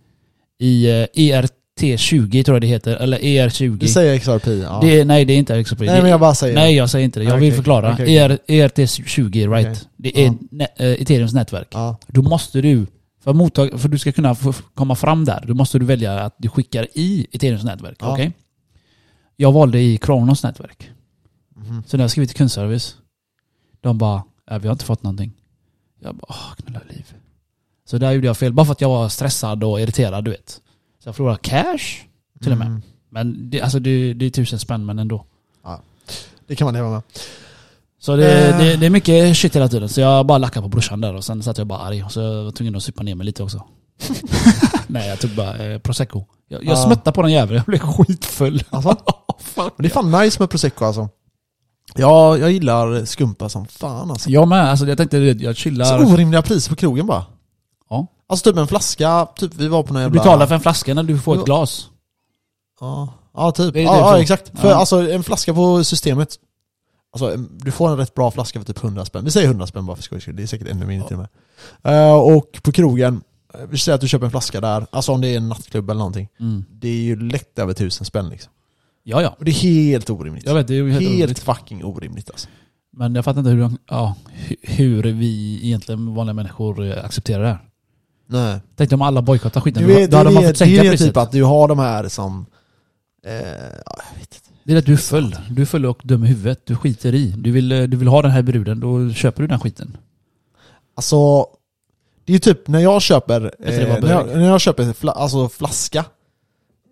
i eh, ERT20 tror jag det heter, eller ER20. Du säger XRP. Ja. Det är, nej, det är inte XRP. nej men jag bara säger nej, jag säger inte det. Jag Okej, vill förklara. E okej, okej. ER, ERT20, right? Okej. Det är Ja. nä, eh, Ethereums nätverk. Ja. Då måste du, för, mottag, för du ska kunna få f- komma fram där, då måste du välja att du skickar i Ethereums nätverk. Ja. Okej? Jag valde i Kronos nätverk. Mhm, Så när jag skrev till kundservice, de bara äh, vi har inte fått någonting. Jag bara, åh, knulla liv. Så där gjorde jag fel, bara för att jag var stressad och irriterad, du vet. Så jag förlorade cash, till och med. Mm. Men det, alltså, det, det är tusen spänn, men ändå. Det kan man leva med. Så det, Eh. det, det är mycket shit hela tiden. Så jag bara lackade på brorsan där och sen satt jag bara arg. Så jag var tvungen att supa ner mig [LAUGHS] lite också. Nej, jag tog bara eh, prosecco. Jag, jag Ja. smättade på den jäveln, jag blev skitfull. [LAUGHS] Alltså? Fuck. Men det är fan nice med prosecco alltså. Ja, jag gillar skumpa som fan alltså. Jag med, alltså, jag tänkte du vet, jag chillar. Så orimliga priser på krogen bara. Ja. Alltså typ en flaska, typ vi var på någon Du jävla... betalar för en flaska när du får Jo. ett glas. Ja, ja typ. Det är ja, typ ja, så. exakt. För Ja. alltså en flaska på systemet. Alltså en- du får en rätt bra flaska för typ 100 spänn. Vi säger 100 spänn bara för skojs skull. Det är säkert ännu mindre till och med. Eh, och på krogen, eh, vi säger att du köper en flaska där. Alltså om det är en nattklubb eller någonting. Mm. Det är ju lätt över 1000 spänn liksom. Ja, ja. Och det är helt orimligt. Jag vet, det är ju helt, helt orimligt. fucking orimligt alltså. Men jag fattar inte hur, de- ja, hu- hur vi egentligen vanliga människor eh, accepterar det här. Nej. Tänkte om alla bojkottar skiten, Du då, vet, då det, hade man är fått det, det sänka är det priset. typ att du har de här som... Eh, ja, jag vet inte. Det är att du är full. Du är full och dum i huvudet. Du skiter i. Du vill, eh, du vill ha den här bruden, då köper du den skiten. Alltså, det är ju typ när jag köper, Vet du, det eh, var när, jag, bög. när jag köper fla, alltså flaska,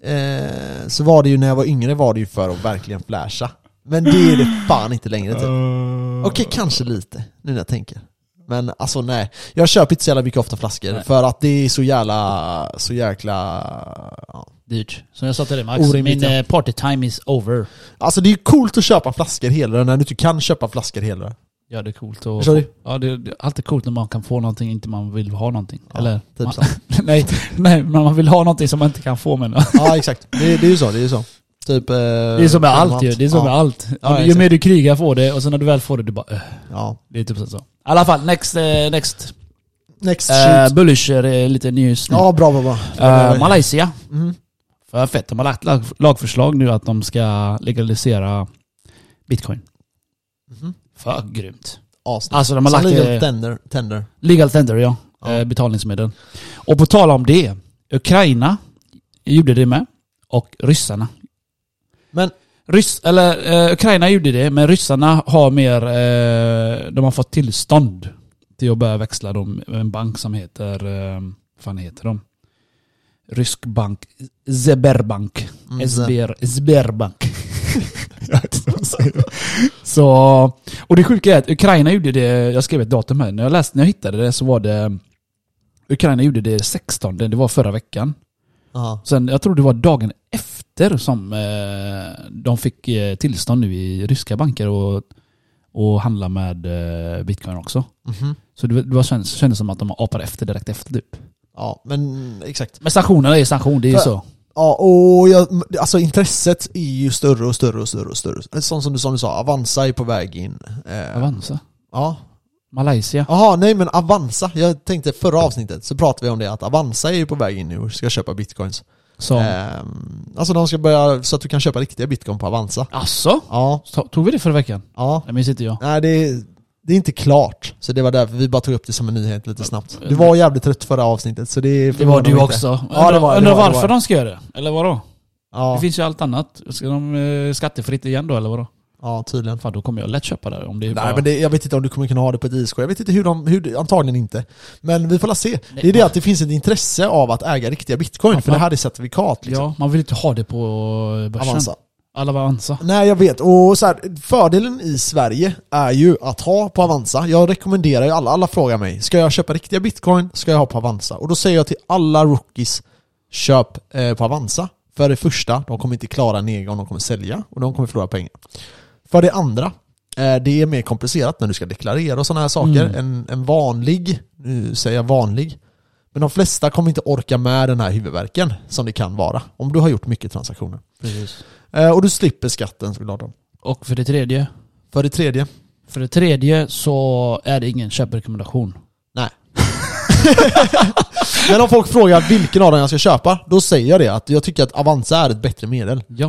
eh, så var det ju när jag var yngre var det ju för att verkligen flasha. Men det är det fan inte längre typ. Okej, kanske lite, nu när jag tänker. Men alltså nej, jag köper inte så jävla mycket ofta flaskor Nej. för att det är så jävla, så jäkla... Ja. Dyrt. Som jag sa till dig Max, Orimligt, min ja. eh, party time is over. Alltså det är ju coolt att köpa flaskor hela när du inte kan köpa flaskor hela Ja det är coolt och... Förstår du? Ja det, det är alltid coolt när man kan få någonting, inte man vill ha någonting. Ja, Eller? typ man, så. [LAUGHS] nej, nej, men man vill ha någonting som man inte kan få men... Ja exakt, det, det är ju så, det är ju så. Typ... Eh, Det är som med allt ju. Det är som med allt. Ja, ju exakt. mer du krigar får det och sen när du väl får det, du bara öh. Ja. Det är typ så. I alla fall, next, eh, next. Next shoot. Uh, Bullish är eh, lite news nu. Ja, bra bra bra. Eh, Malaysia. Mm. För fett, de har lagt lag, lagförslag nu att de ska legalisera bitcoin. Mhm. För grymt. Asnice. Alltså de har Som lagt legal legal, tender, tender. legal tender, ja. Ja. Eh, betalningsmedel. Och på tal om det, Ukraina gjorde det med. Och ryssarna. Men- Ryss, eller, eh, Ukraina gjorde det, men ryssarna har mer... Eh, de har fått tillstånd till att börja växla dem med en bank som heter... Eh, vad fan heter de? Rysk bank. Zeberbank. Mm, [LAUGHS] SBR, SBR-bank. Jag vet inte vad jag säger. så, och det sjuka är att Ukraina gjorde det, jag skrev ett datum här, när jag, läste, när jag hittade det så var det Ukraina gjorde det 16, det var förra veckan. Aha. Sen, jag tror det var dagen efter krediter som eh, de fick eh, tillstånd nu i ryska banker och, och handla med eh, bitcoin också. Mhm. Så det, det var, kändes, kändes som att de apar efter direkt efter typ. Ja, men exakt. Men sanktionerna är sanktion, det är ju För- så. Ja, och jag, alltså intresset är ju större och större och större och större. Sånt som du, som du sa, Avanza är på väg in. Eh, Avanza. Ja. Malaysia. Jaha, nej men Avanza. Jag tänkte förra avsnittet så pratade vi om det att Avanza är ju på väg in nu och ska köpa bitcoins. Som... Ehm, alltså de ska börja så att du kan köpa riktiga bitcoin på Avanza. Asså? Ja, Ta- Tog vi det förra veckan? ja. Det minns inte jag. Nej det är, det är inte klart. Så det var därför vi bara tog upp det som en nyhet lite snabbt. Du var jävligt trött förra avsnittet så det Det var förvånar du mig inte. också. Ja, det var- det var- Undrar det var. varför de ska göra det? Eller vadå? Det Ja, finns ju allt annat. Ska de eh, skattefritt igen då eller vadå? ja tydligen. Fan då kommer jag lätt köpa det om det är bara... Nej men det, jag vet inte om du kommer kunna ha det på ett ISK. Jag vet inte hur de, hur, antagligen inte. Men vi får la se. Det är det att det finns ett intresse av att äga riktiga bitcoin, för det här är certifikat liksom. Ja, man vill inte ha det på eh, börsen. Avanza. Alla Avanza. Nej jag vet, och så här, fördelen i Sverige är ju att ha på Avanza. Jag rekommenderar ju alla, alla frågar mig, ska jag köpa riktiga bitcoin, ska jag ha på Avanza? Och då säger jag till alla rookies, köp eh, på Avanza. För det första, de kommer inte klara nedgång, de kommer sälja och de kommer förlora pengar. För det andra, eh, det är mer komplicerat när du ska deklarera och sådana här saker. Mm. En, en vanlig, nu säger jag vanlig, men de flesta kommer inte orka med den här huvudvärken som det kan vara. Om du har gjort mycket transaktioner. Precis. Eh, Och du slipper skatten såklart. då. Och för det tredje. För det tredje. För det tredje så är det ingen köprekommendation. Nej. Men om folk frågar vilken av dem jag ska köpa, då säger jag det. Att jag tycker att Avanza är ett bättre medel. Eh, Ja.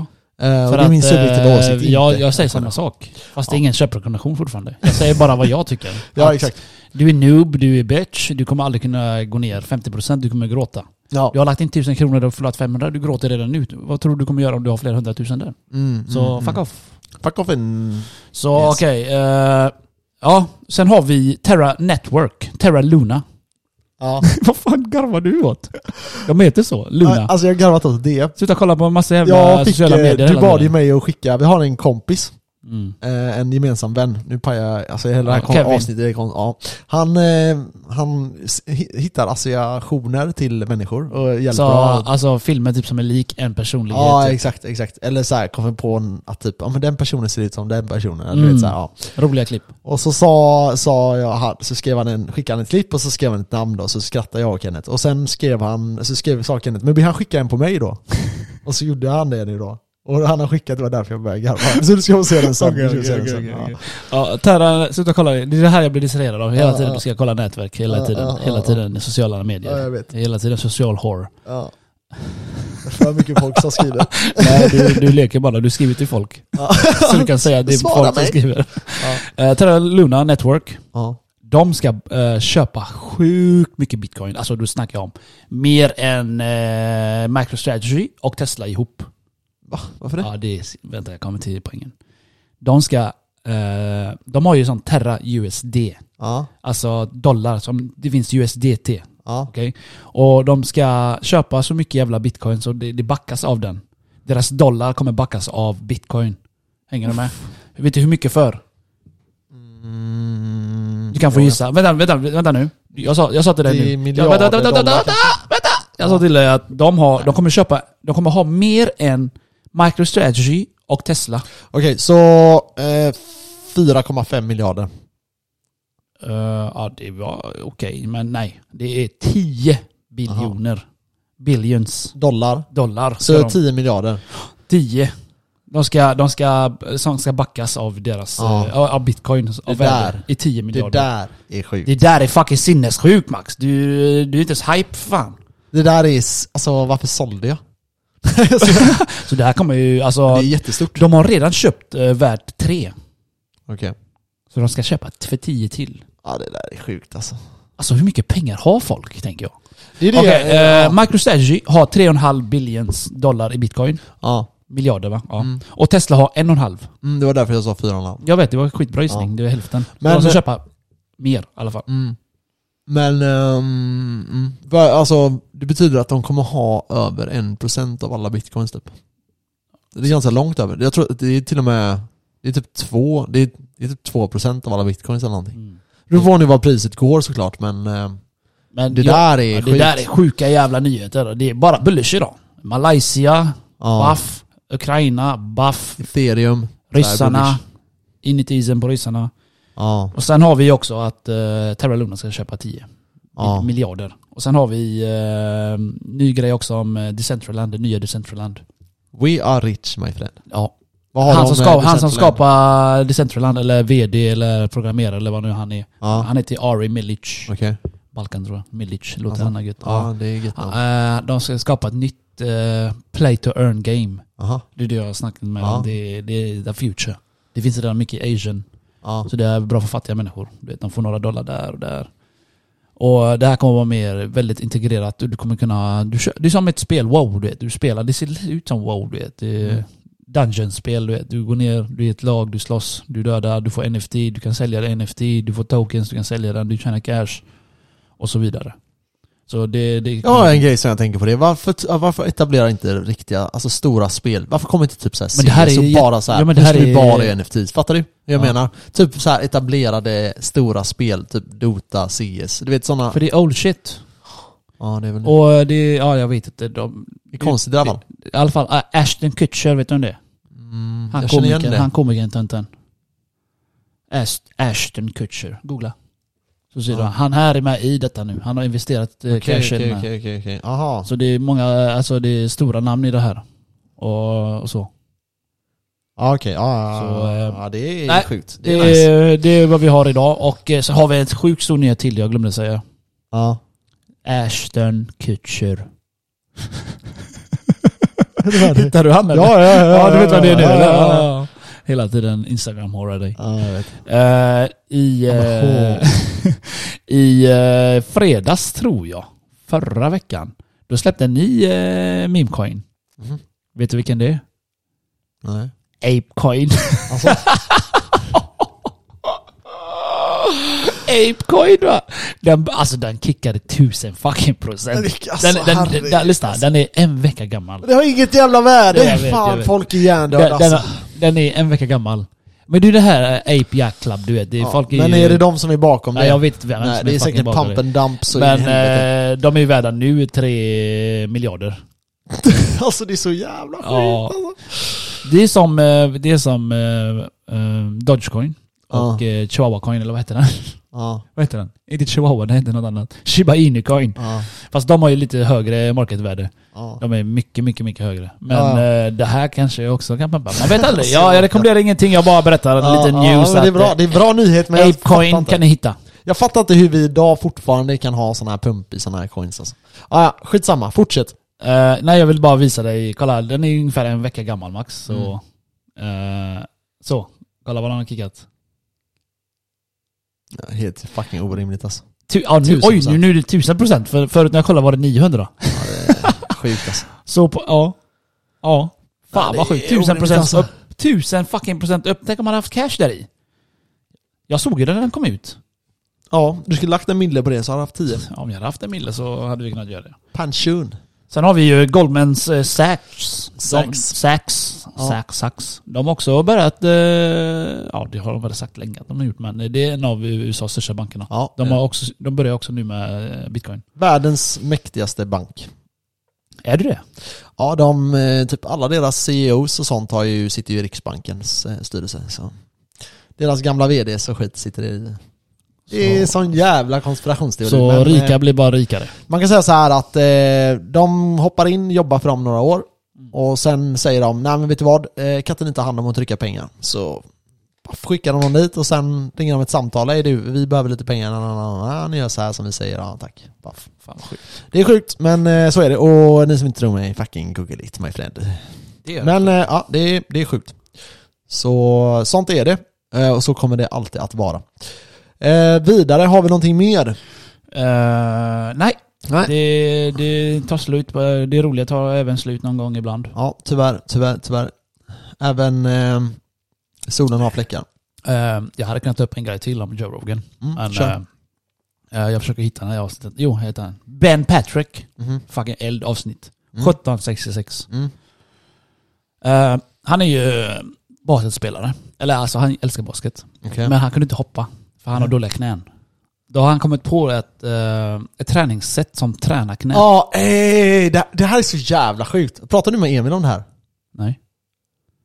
och det är min subjektiva eh, åsikt. inte. jag, jag säger samma sak. Fast det är ingen köprekommendation fortfarande. Jag säger bara vad jag tycker. Ja, Att exakt. Du är noob, du är bitch, du kommer aldrig kunna gå ner 50%, du kommer gråta. Ja. Du har lagt in 1000 kronor, du har förlorat 500, du gråter redan nu. Vad tror du kommer göra om du har flera hundratusen där? Mm, Så mm, fuck mm. off. Fuck off en... Så Yes. okej. eh, ja, sen har vi Terra Network, Terra Luna. Ja. [LAUGHS] Vad fan garvar du åt? De heter så, Luna. Alltså jag har garvat åt det. Sluta kolla på en massa jävla Jag fick, sociala eh, medier du hela bad ju tiden. mig att skicka, vi har en kompis, Mm. eh, en gemensam vän, nu pajar jag, alltså hela det här Ja, kon- Kevin. avsnittet är kon- ja. Han, eh, han s- hi- hittar associationer till människor och hjälper Så dem. alltså filmer typ som är lik en personlighet. Ja, typ. exakt, exakt. Eller så här, kommer på en, att typ, ja men den personen ser ut som den personen. Eller du Mm. vet, så här, ja. Roliga klipp. Och så sa, sa jag, han- så skrev han en, skickade han ett klipp och så skrev han ett namn då, så skrattade jag och Kenneth. Och sen skrev han, så skrev sa Kenneth, men vill han skicka en på mig [LAUGHS] då? och så gjorde han det nu då. Och han har skickat, det var därför jag började garva. Så du ska få se den sen. Okej, du ska få okej, se den okej, sen, okej, ja. okej. Ja, Terra, sluta kolla. Det är det här jag blir distraherad av. Hela Ja, tiden ja. ska jag kolla nätverk, Ja, hela ja, tiden, ja, hela ja. tiden i sociala Ja, jag medier. vet. Hela tiden social whore. Ja. För mycket folk som skriver. Nej, du, du leker bara. Du skriver till folk. Ja. Så du kan säga att det är Svara folk som mig. skriver. Eh, Terra Luna Network. Ja. De ska eh, köpa sjukt mycket bitcoin. Alltså du snackar jag om. Mer än eh, MicroStrategy och Tesla ihop. Mm. Va? Varför det? Ja, det är, vänta, jag kommer till poängen. De ska... Eh, de har ju sån Terra USD. Ja. Alltså dollar. Som, det finns USDT. Ja. Okej? Och de ska köpa så mycket jävla bitcoin så det, det backas av den. Deras dollar kommer backas av bitcoin. Hänger du med? Vet du hur mycket för? Mm. Du kan få gissa. Vänta, vänta, vänta nu. Jag sa, jag sa till dig Det är nu. miljarder vänta, vänta, vänta, dollar vänta, vänta! Jag sa till dig att de, har, de kommer köpa, de kommer ha mer än MicroStrategy och Tesla. Okej, så eh, 4,5 miljarder. Eh, ja, det var okej, men nej. Det är 10 biljoner. Billions Dollar. dollar. ska Så de- 10 miljarder. 10. De ska, de ska, som ska backas av deras, Ja. eh, av bitcoin, av där. värde i 10 Det miljarder. Det där, där är sjukt. det där är fucking sinnessjukt Max. Du, du är inte ens hype fan. Det där är... s- Alltså varför sålde jag? Så det här kommer ju, alltså, Det är jättestort. de har redan köpt eh, värt 3. Okej. Så de ska köpa t- för 10 till. Ja det där är sjukt alltså. Alltså hur mycket pengar har folk, tänker jag? Det är det... Okej, eh, ja. MicroStrategy har 3,5 billions dollar i bitcoin. ja. Miljarder va? Ja. Mm. Och Tesla har 1,5. Mm, det var därför jag sa 4,5. Jag vet, det var en skitbra gissning. Det är hälften. Men, Men- de ska köpa mer i alla fall. Mm. Men... ehm, mm. Va- Alltså det betyder att de kommer ha över 1% av alla bitcoins typ. Det är ganska långt över. Jag tror att det är till och med... Det är typ 2... Det är, det är typ 2% av alla bitcoins eller någonting. Mm. Det beror på nu vad priset går såklart men... ehm, Men Det jag- där är Ja, sjukt. det där är sjuka jävla nyheter. Det är bara bullish idag. Malaysia, Ja. Baff. Ukraina, baff. Ethereum. Ryssarna. Cyberbush. Inuti isen på ryssarna. Ja. Och sen har vi också att eh, Terra Luna ska köpa 10 Ja. miljarder. Och sen har vi eh, ny grej också om eh, Decentraland, det nya Decentraland. We are rich my friend. Ja. Vad har Han, de som, med ska, han som Decentraland? skapar Decentraland, eller VD eller programmerare eller vad nu han är. Ja. Han heter Ari Milic. Okej. Balkan tror jag. Milic, låter Alltså, han ha gött. Ja, det är gött namn. Ja, eh, De ska skapa ett nytt eh, play to earn game. Aha. Det är det jag har snackat med Ja. om. Det, är- det är the future. Det finns redan mycket i Asian. Ja. Så det är bra för fattiga människor. Du vet, de får några dollar där och där. Och det här kommer vara mer väldigt integrerat. Du kommer kunna... Du, kö- det är som ett spel, wow du vet. Du spelar, det ser ut som wow du vet. Det är Mm. Dungeon-spel du vet. Du går ner, du är ett lag, du slåss, du dödar, du får NFT, du kan sälja det NFT, du får tokens, du kan sälja den, du tjänar cash. Och så vidare. Så det... det Jag har en grej som jag tänker på det. Varför, t- varför etablerar inte riktiga, alltså stora spel? Varför kommer inte typ såhär Men det här CS är ju- och bara såhär, Ja, ja, men men det här nu är- ska vi bara göra NFTs. Fattar du? Jag Ja. menar, typ så här etablerade stora spel, typ Dota, CS. Du vet sådana... För det är old shit. Ja, det är väl Och eh, det... Ja, jag vet inte. De, det är konstigt i alla fall. I alla fall ah, Ashton Kutcher, vet du om det? Mm, Han jag känner igen komikern, det. han komikern tönten. Ast- Ashton Kutcher, googla. Så ser Ja. du, han här är med i detta nu. Han har investerat eh, Okej, cashen okej, med. okej, okej, okej. Aha. Så det är många, eh, alltså det är stora namn i det här. Och, och så. ah, Ja, okej. Ja, ja, Så, eh, ja, det är nej, sjukt. Det Det är nice. är, det är vad vi har idag. Och eh, så har vi ett sjukt stor nyhet till, jag glömde säga. Ja. Ashton [LAUGHS] Kutcher. ja, Hittar du han eller? ja, ja. Ja, du vet vad det är nu ja, eller? ja, Ja, ja. ja. Hela tiden instagram horar dig. Ja, jag vet. Eh, I Aha. eh, [LAUGHS] i eh, fredags tror jag, förra veckan, då släppte en ny eh, memecoin. Mhm. Vet du vilken det är? Nej. Apecoin. Alltså, Apecoin va? Den, alltså den kickade tusen fucking procent. alltså, Den, den, den, herregud, den, lyssna, alltså. den är en vecka gammal. Det har inget jävla värde! Jag vet, jag Fan, vet. folk är hjärndöda Den, den, alltså. den är en vecka gammal. Men det är det här eh, Ape Jack Club, du vet. Det är, Ja, folk är men ju, är det de som är bakom Nej, det? jag vet inte vem som Nej, det är fucking säkert bakom det. pump and dump så Men in i [LAUGHS] helvete. eh, de är ju värda nu 3 miljarder. Alltså det är så jävla skit ja. alltså. Det är som, eh, det är som eh, eh, Dogecoin och Ja. eh, Chihuahua coin eller vad heter den? [LAUGHS] Ja, vad heter den? Inte Chihuahua, den heter något annat. Shiba Inu coin. ja, Fast de har ju lite högre marketvärde. ja. De är mycket, mycket, mycket högre. Men Ja. eh, det här kanske jag också kan pumpa. Man vet aldrig. Ja, jag rekommenderar ingenting, jag bara berättar Ja, lite ja, news. men det, är bra, att, det är bra nyhet men eh, jag fattar, Apecoin inte. kan ni hitta. jag fattar inte hur vi idag fortfarande kan ha såna här pump i såna här coins alltså. ah, ja, skitsamma, fortsätt. Eh, nej, jag vill bara visa dig. Kolla, den är ungefär en vecka gammal max. Så, eh, så kolla vad den har kickat. Ja, Helt fucking orimligt alltså. Tu, ja, nu, Tusen oj, nu, procent. nu är det tusen procent. För, förut när jag kollade var det 900. Sjukt alltså. Så på, ja. Ja. Fan Ja, det vad är sjukt. Tusen orimligt, procent alltså. upp. Tusen fucking procent upp. Tänk om man hade haft cash där i. Jag såg ju den när den kom ut. Ja, du skulle lagt en mille på det så hade du haft 10. Ja, om jag hade haft en mille så hade vi kunnat göra det. Pension. Sen har vi ju Goldmans eh, Sachs. Sachs. Sachs. Ja. Sachs. Sachs. De har också börjat... Eh, ja, det har de väl sagt länge att de har gjort, men det är en av USAs största bankerna. Ja, eh, De, har också, de börjar också nu med eh, bitcoin. Världens mäktigaste bank. Är det det? Ja, de, eh, typ alla deras CEOs och sånt har ju, sitter ju i Riksbankens eh, styrelse. Så. Deras gamla VDs och skit sitter i. Det är Så- sån jävla konspirationsteori. Så men, eh, rika blir bara rikare. Man kan säga så här att eh, de hoppar in, jobbar för dem några år och sen säger de, nej men vet du vad, eh, katten inte ha hand om att trycka pengar. Så paff, skickar de någon dit och sen ringer de ett samtal, hej du, vi behöver lite pengar, na, na, na, na. ni gör så här som vi säger, ja tack. Paff. Fan vad sjukt. Det är sjukt, men eh, så är det. Och ni som inte tror mig, fucking google it my friend. Det är Men eh, ja, det är, det är sjukt. Så sånt är det. Eh, och så kommer det alltid att vara. Eh, vidare, har vi någonting mer? Eh, nej, Nej. det, det tar slut. Det roliga tar även slut någon gång ibland. Ja, tyvärr, tyvärr, tyvärr. Även eh, solen har fläckar. Eh, jag hade kunnat ta upp en grej till om Joe Rogan. Mm, Men, kör. eh, eh, jag försöker hitta den här avsnittet. Jo, jag hittar den. Ben Patrick. Mhm. Fucking eld avsnitt. Mm. 1766. Mm. Eh, han är ju eh, basketspelare. Eller alltså han älskar basket. Okej. Men eh, han kunde inte hoppa. För han har Mm. dåliga knän. Då har han kommit på ett, eh, ett träningssätt som tränar knän. eh, Ja, ey, det, det här är så jävla sjukt. Pratar du med Emil om det här? Nej.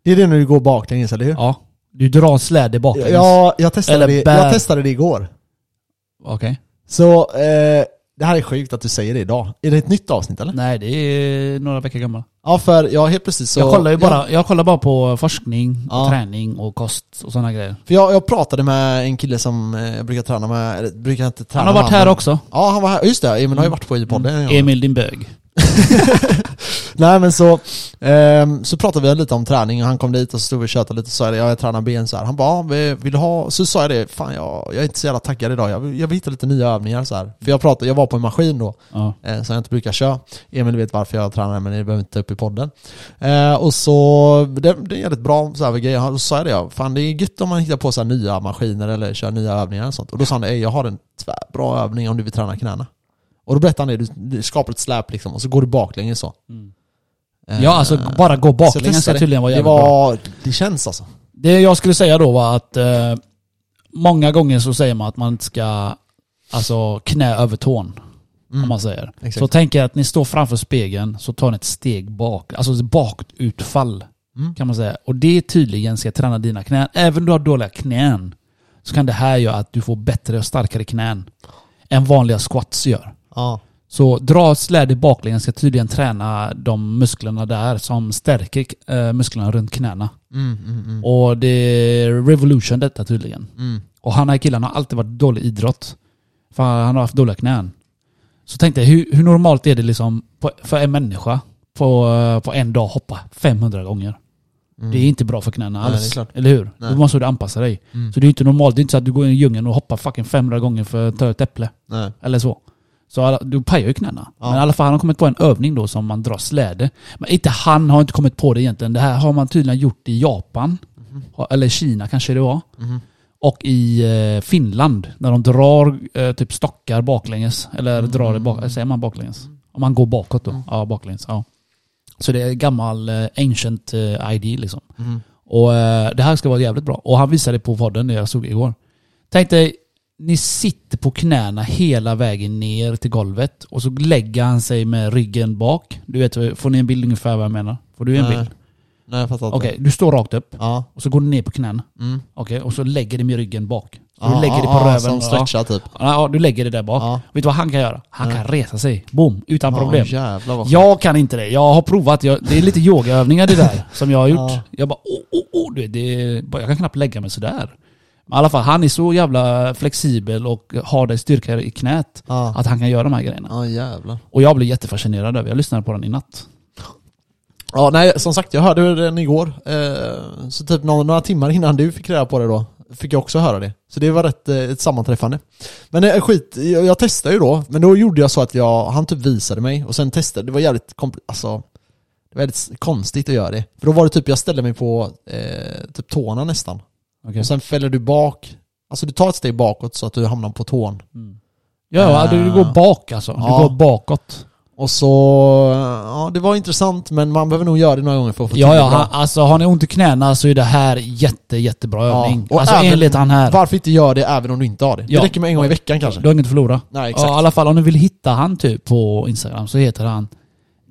Det är det när du går baklänges, eller hur? Ja. Du drar en släde baklänges. Ja, jag testade, Eller det, bär. jag testade det igår. Okej. Så, eh, det här är sjukt att du säger det idag. Är det ett nytt avsnitt eller? Nej, det är några veckor gamla. Ja, för jag helt precis så... jag kollar ju bara, jag kollar bara på forskning, Ja. och träning och kost och sådana grejer. För jag, jag pratade med en kille som eh, jag brukar träna med, eller brukar inte träna Han har med varit här men- också. Ja, han var här. Just det, Emil har ju varit på i podden. en gång. Emil din bög. Nej men så, ehm, så pratade vi lite om träning och han kom dit och så stod vi och tjötade lite och sa jag, jag tränar ben så här. Han bara, "Ja, vi- vill du ha? Så sa jag det, fan jag, jag är inte så jävla taggad idag, jag vill, jag vill hitta lite nya övningar så här. För jag pratade, jag var på en maskin då, Ja. eh, som jag inte brukar köra. Emil vet varför jag tränar men det behöver inte ta upp i podden. Eh, och så, det, det är jävligt bra så här med grejer. Han- Då sa jag det, ja, fan det är gött om man hittar på så här nya maskiner eller kör nya övningar och sånt. Och då sa han, "Ey, jag har en tvärbra övning om du vill träna knäna. Och då berättade han det, du, du skapar ett släp liksom och så går du baklänges så. Eh, ja, alltså bara så gå jag baklänges ska testade. tydligen vara det jävligt bra. var, Det känns alltså. Det jag skulle säga då var att eh, många gånger så säger man att man inte ska alltså knä över tån. Om man säger. Mm. Exakt. Så tänk er att ni står framför spegeln så tar ni ett steg bak. Alltså ett bakutfall Mm. kan man säga. Och det tydligen ska träna dina knän. Även om du har dåliga knän så kan det här göra att du får bättre och starkare knän än vanliga squats gör. Ja. Så dra ett släde baklänges ska tydligen träna de musklerna där som stärker eh, musklerna runt knäna. Mm, mm, mm, Och det är revolution detta tydligen. mm. Och han här killen har alltid varit dålig i idrott. För han har haft dåliga knän. Så tänkte jag, hur, hur normalt är det liksom på, för en människa på, eh, på en dag hoppa 500 gånger? Mm. Det är inte bra för knäna Nej, alls. det är klart. Eller hur? Nej. Du måste du anpassa dig. Mm. Så det är inte normalt. Det är inte så att du går in i djungeln och hoppar fucking 500 gånger för att ta ett äpple. Nej. Eller så. Så alla, du pajar ju knäna. Ja. Men i alla fall, han har kommit på en övning då som man drar släde. Men inte han har inte kommit på det egentligen. Det här har man tydligen gjort i Japan. Ha- Eller Kina kanske det var. Mhm. Och i eh, Finland. När de drar eh, typ stockar baklänges. Eller drar det bak, eh, säger man baklänges? Om man går bakåt då. Ja, baklänges. Ja. Så det är gammal eh, ancient eh, ID liksom. Mm. Och eh, det här ska vara jävligt bra. Och han visade det på podden när jag såg igår. Tänk dig, ni sitter på knäna hela vägen ner till golvet och så lägger han sig med ryggen bak. Du vet, får ni en bild ungefär vad jag menar? Får du en Nej, bild? Nej jag fattar inte. Okej, du står rakt upp Ja. och så går du ner på knäna. Mm. Okej, och så lägger du med ryggen bak. Så Ja, du lägger ja, det på ja, röven. Som stretchar typ. Ja, ja, du lägger det där bak. Ja. Vet du vad han kan göra? Han kan resa sig. Boom, utan problem. Ja, jävlar vad Jag kan inte det. Jag har provat. Jag, det är lite yogaövningar det [LAUGHS] där som jag har gjort. Ja. Jag bara oh, oh, oh, du vet, det är, bara, Jag kan knappt lägga mig sådär. Men i alla fall, han är så jävla flexibel och har den styrka i knät Ja. att han kan göra de här grejerna. Ja jävlar. Och jag blev jättefascinerad över Jag lyssnade på den i natt. Ja nej som sagt jag hörde den igår. Eh, så typ några, några timmar innan du fick reda på det då. Fick jag också höra det. Så det var rätt eh, ett sammanträffande. Men eh, skit, jag, jag testade ju då. Men då gjorde jag så att jag, han typ visade mig och sen testade. Det var jävligt kompl- alltså, det var väldigt konstigt att göra det. För då var det typ, jag ställde mig på eh, typ tårna nästan. Okay. Och sen fäller du bak. Alltså du tar ett steg bakåt så att du hamnar på tån. Ja, du, du går Ah. bak alltså. Du Ja. går bakåt. Och så, ja det var intressant men man behöver nog göra det några gånger för att få till Ja, det ja. bra. Han, alltså har ni ont i knäna så är det här jätte, jättebra Ja. övning. Och Alltså även- enligt han här. Varför inte göra det även om du inte har det? Ja. Det räcker med en gång i veckan kanske? Du har inget att förlora. Nej, Ja, i alla fall om du vill hitta han typ på Instagram så heter han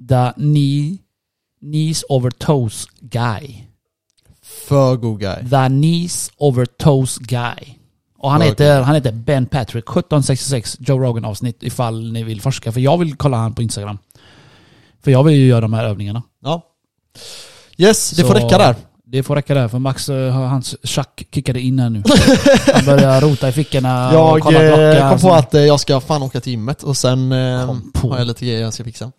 The Knee, Knees Over Toes Guy. För god guy. The Knees Over Toes Guy. Och han Okej. heter, han heter Ben Patrick, 1766 Joe Rogan avsnitt ifall ni vill forska. För jag vill kolla han på Instagram. För jag vill ju göra de här övningarna. Ja. Yes, det Så- får räcka där. Det får räcka där för Max, eh, hans tjack kickade [LAUGHS] in här nu. Han börjar rota i fickorna och Jag kolla eh, klockan. kom på att eh, jag ska fan åka till gymmet och sen eh, Kom på. har jag lite grejer jag ska fixa.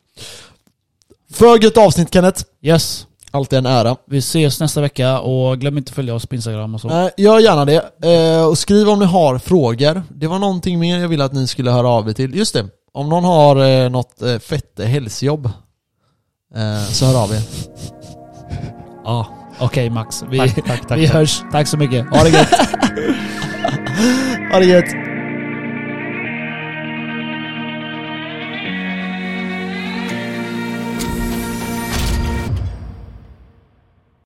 För gött avsnitt Kenneth. Yes, Alltid en ära. vi ses nästa vecka och glöm inte att följa oss på Instagram och så. Eh, Gör gärna det. Eh, Och skriv om ni har frågor. Det var någonting mer jag ville att ni skulle höra av er till. Just det, om någon har eh, något eh, fett hälsojobb eh, så hör av er. Ja, okej Max. Vi, Tack, tack, tack. vi hörs. Tack så mycket. Ha det gött. Ha det gött.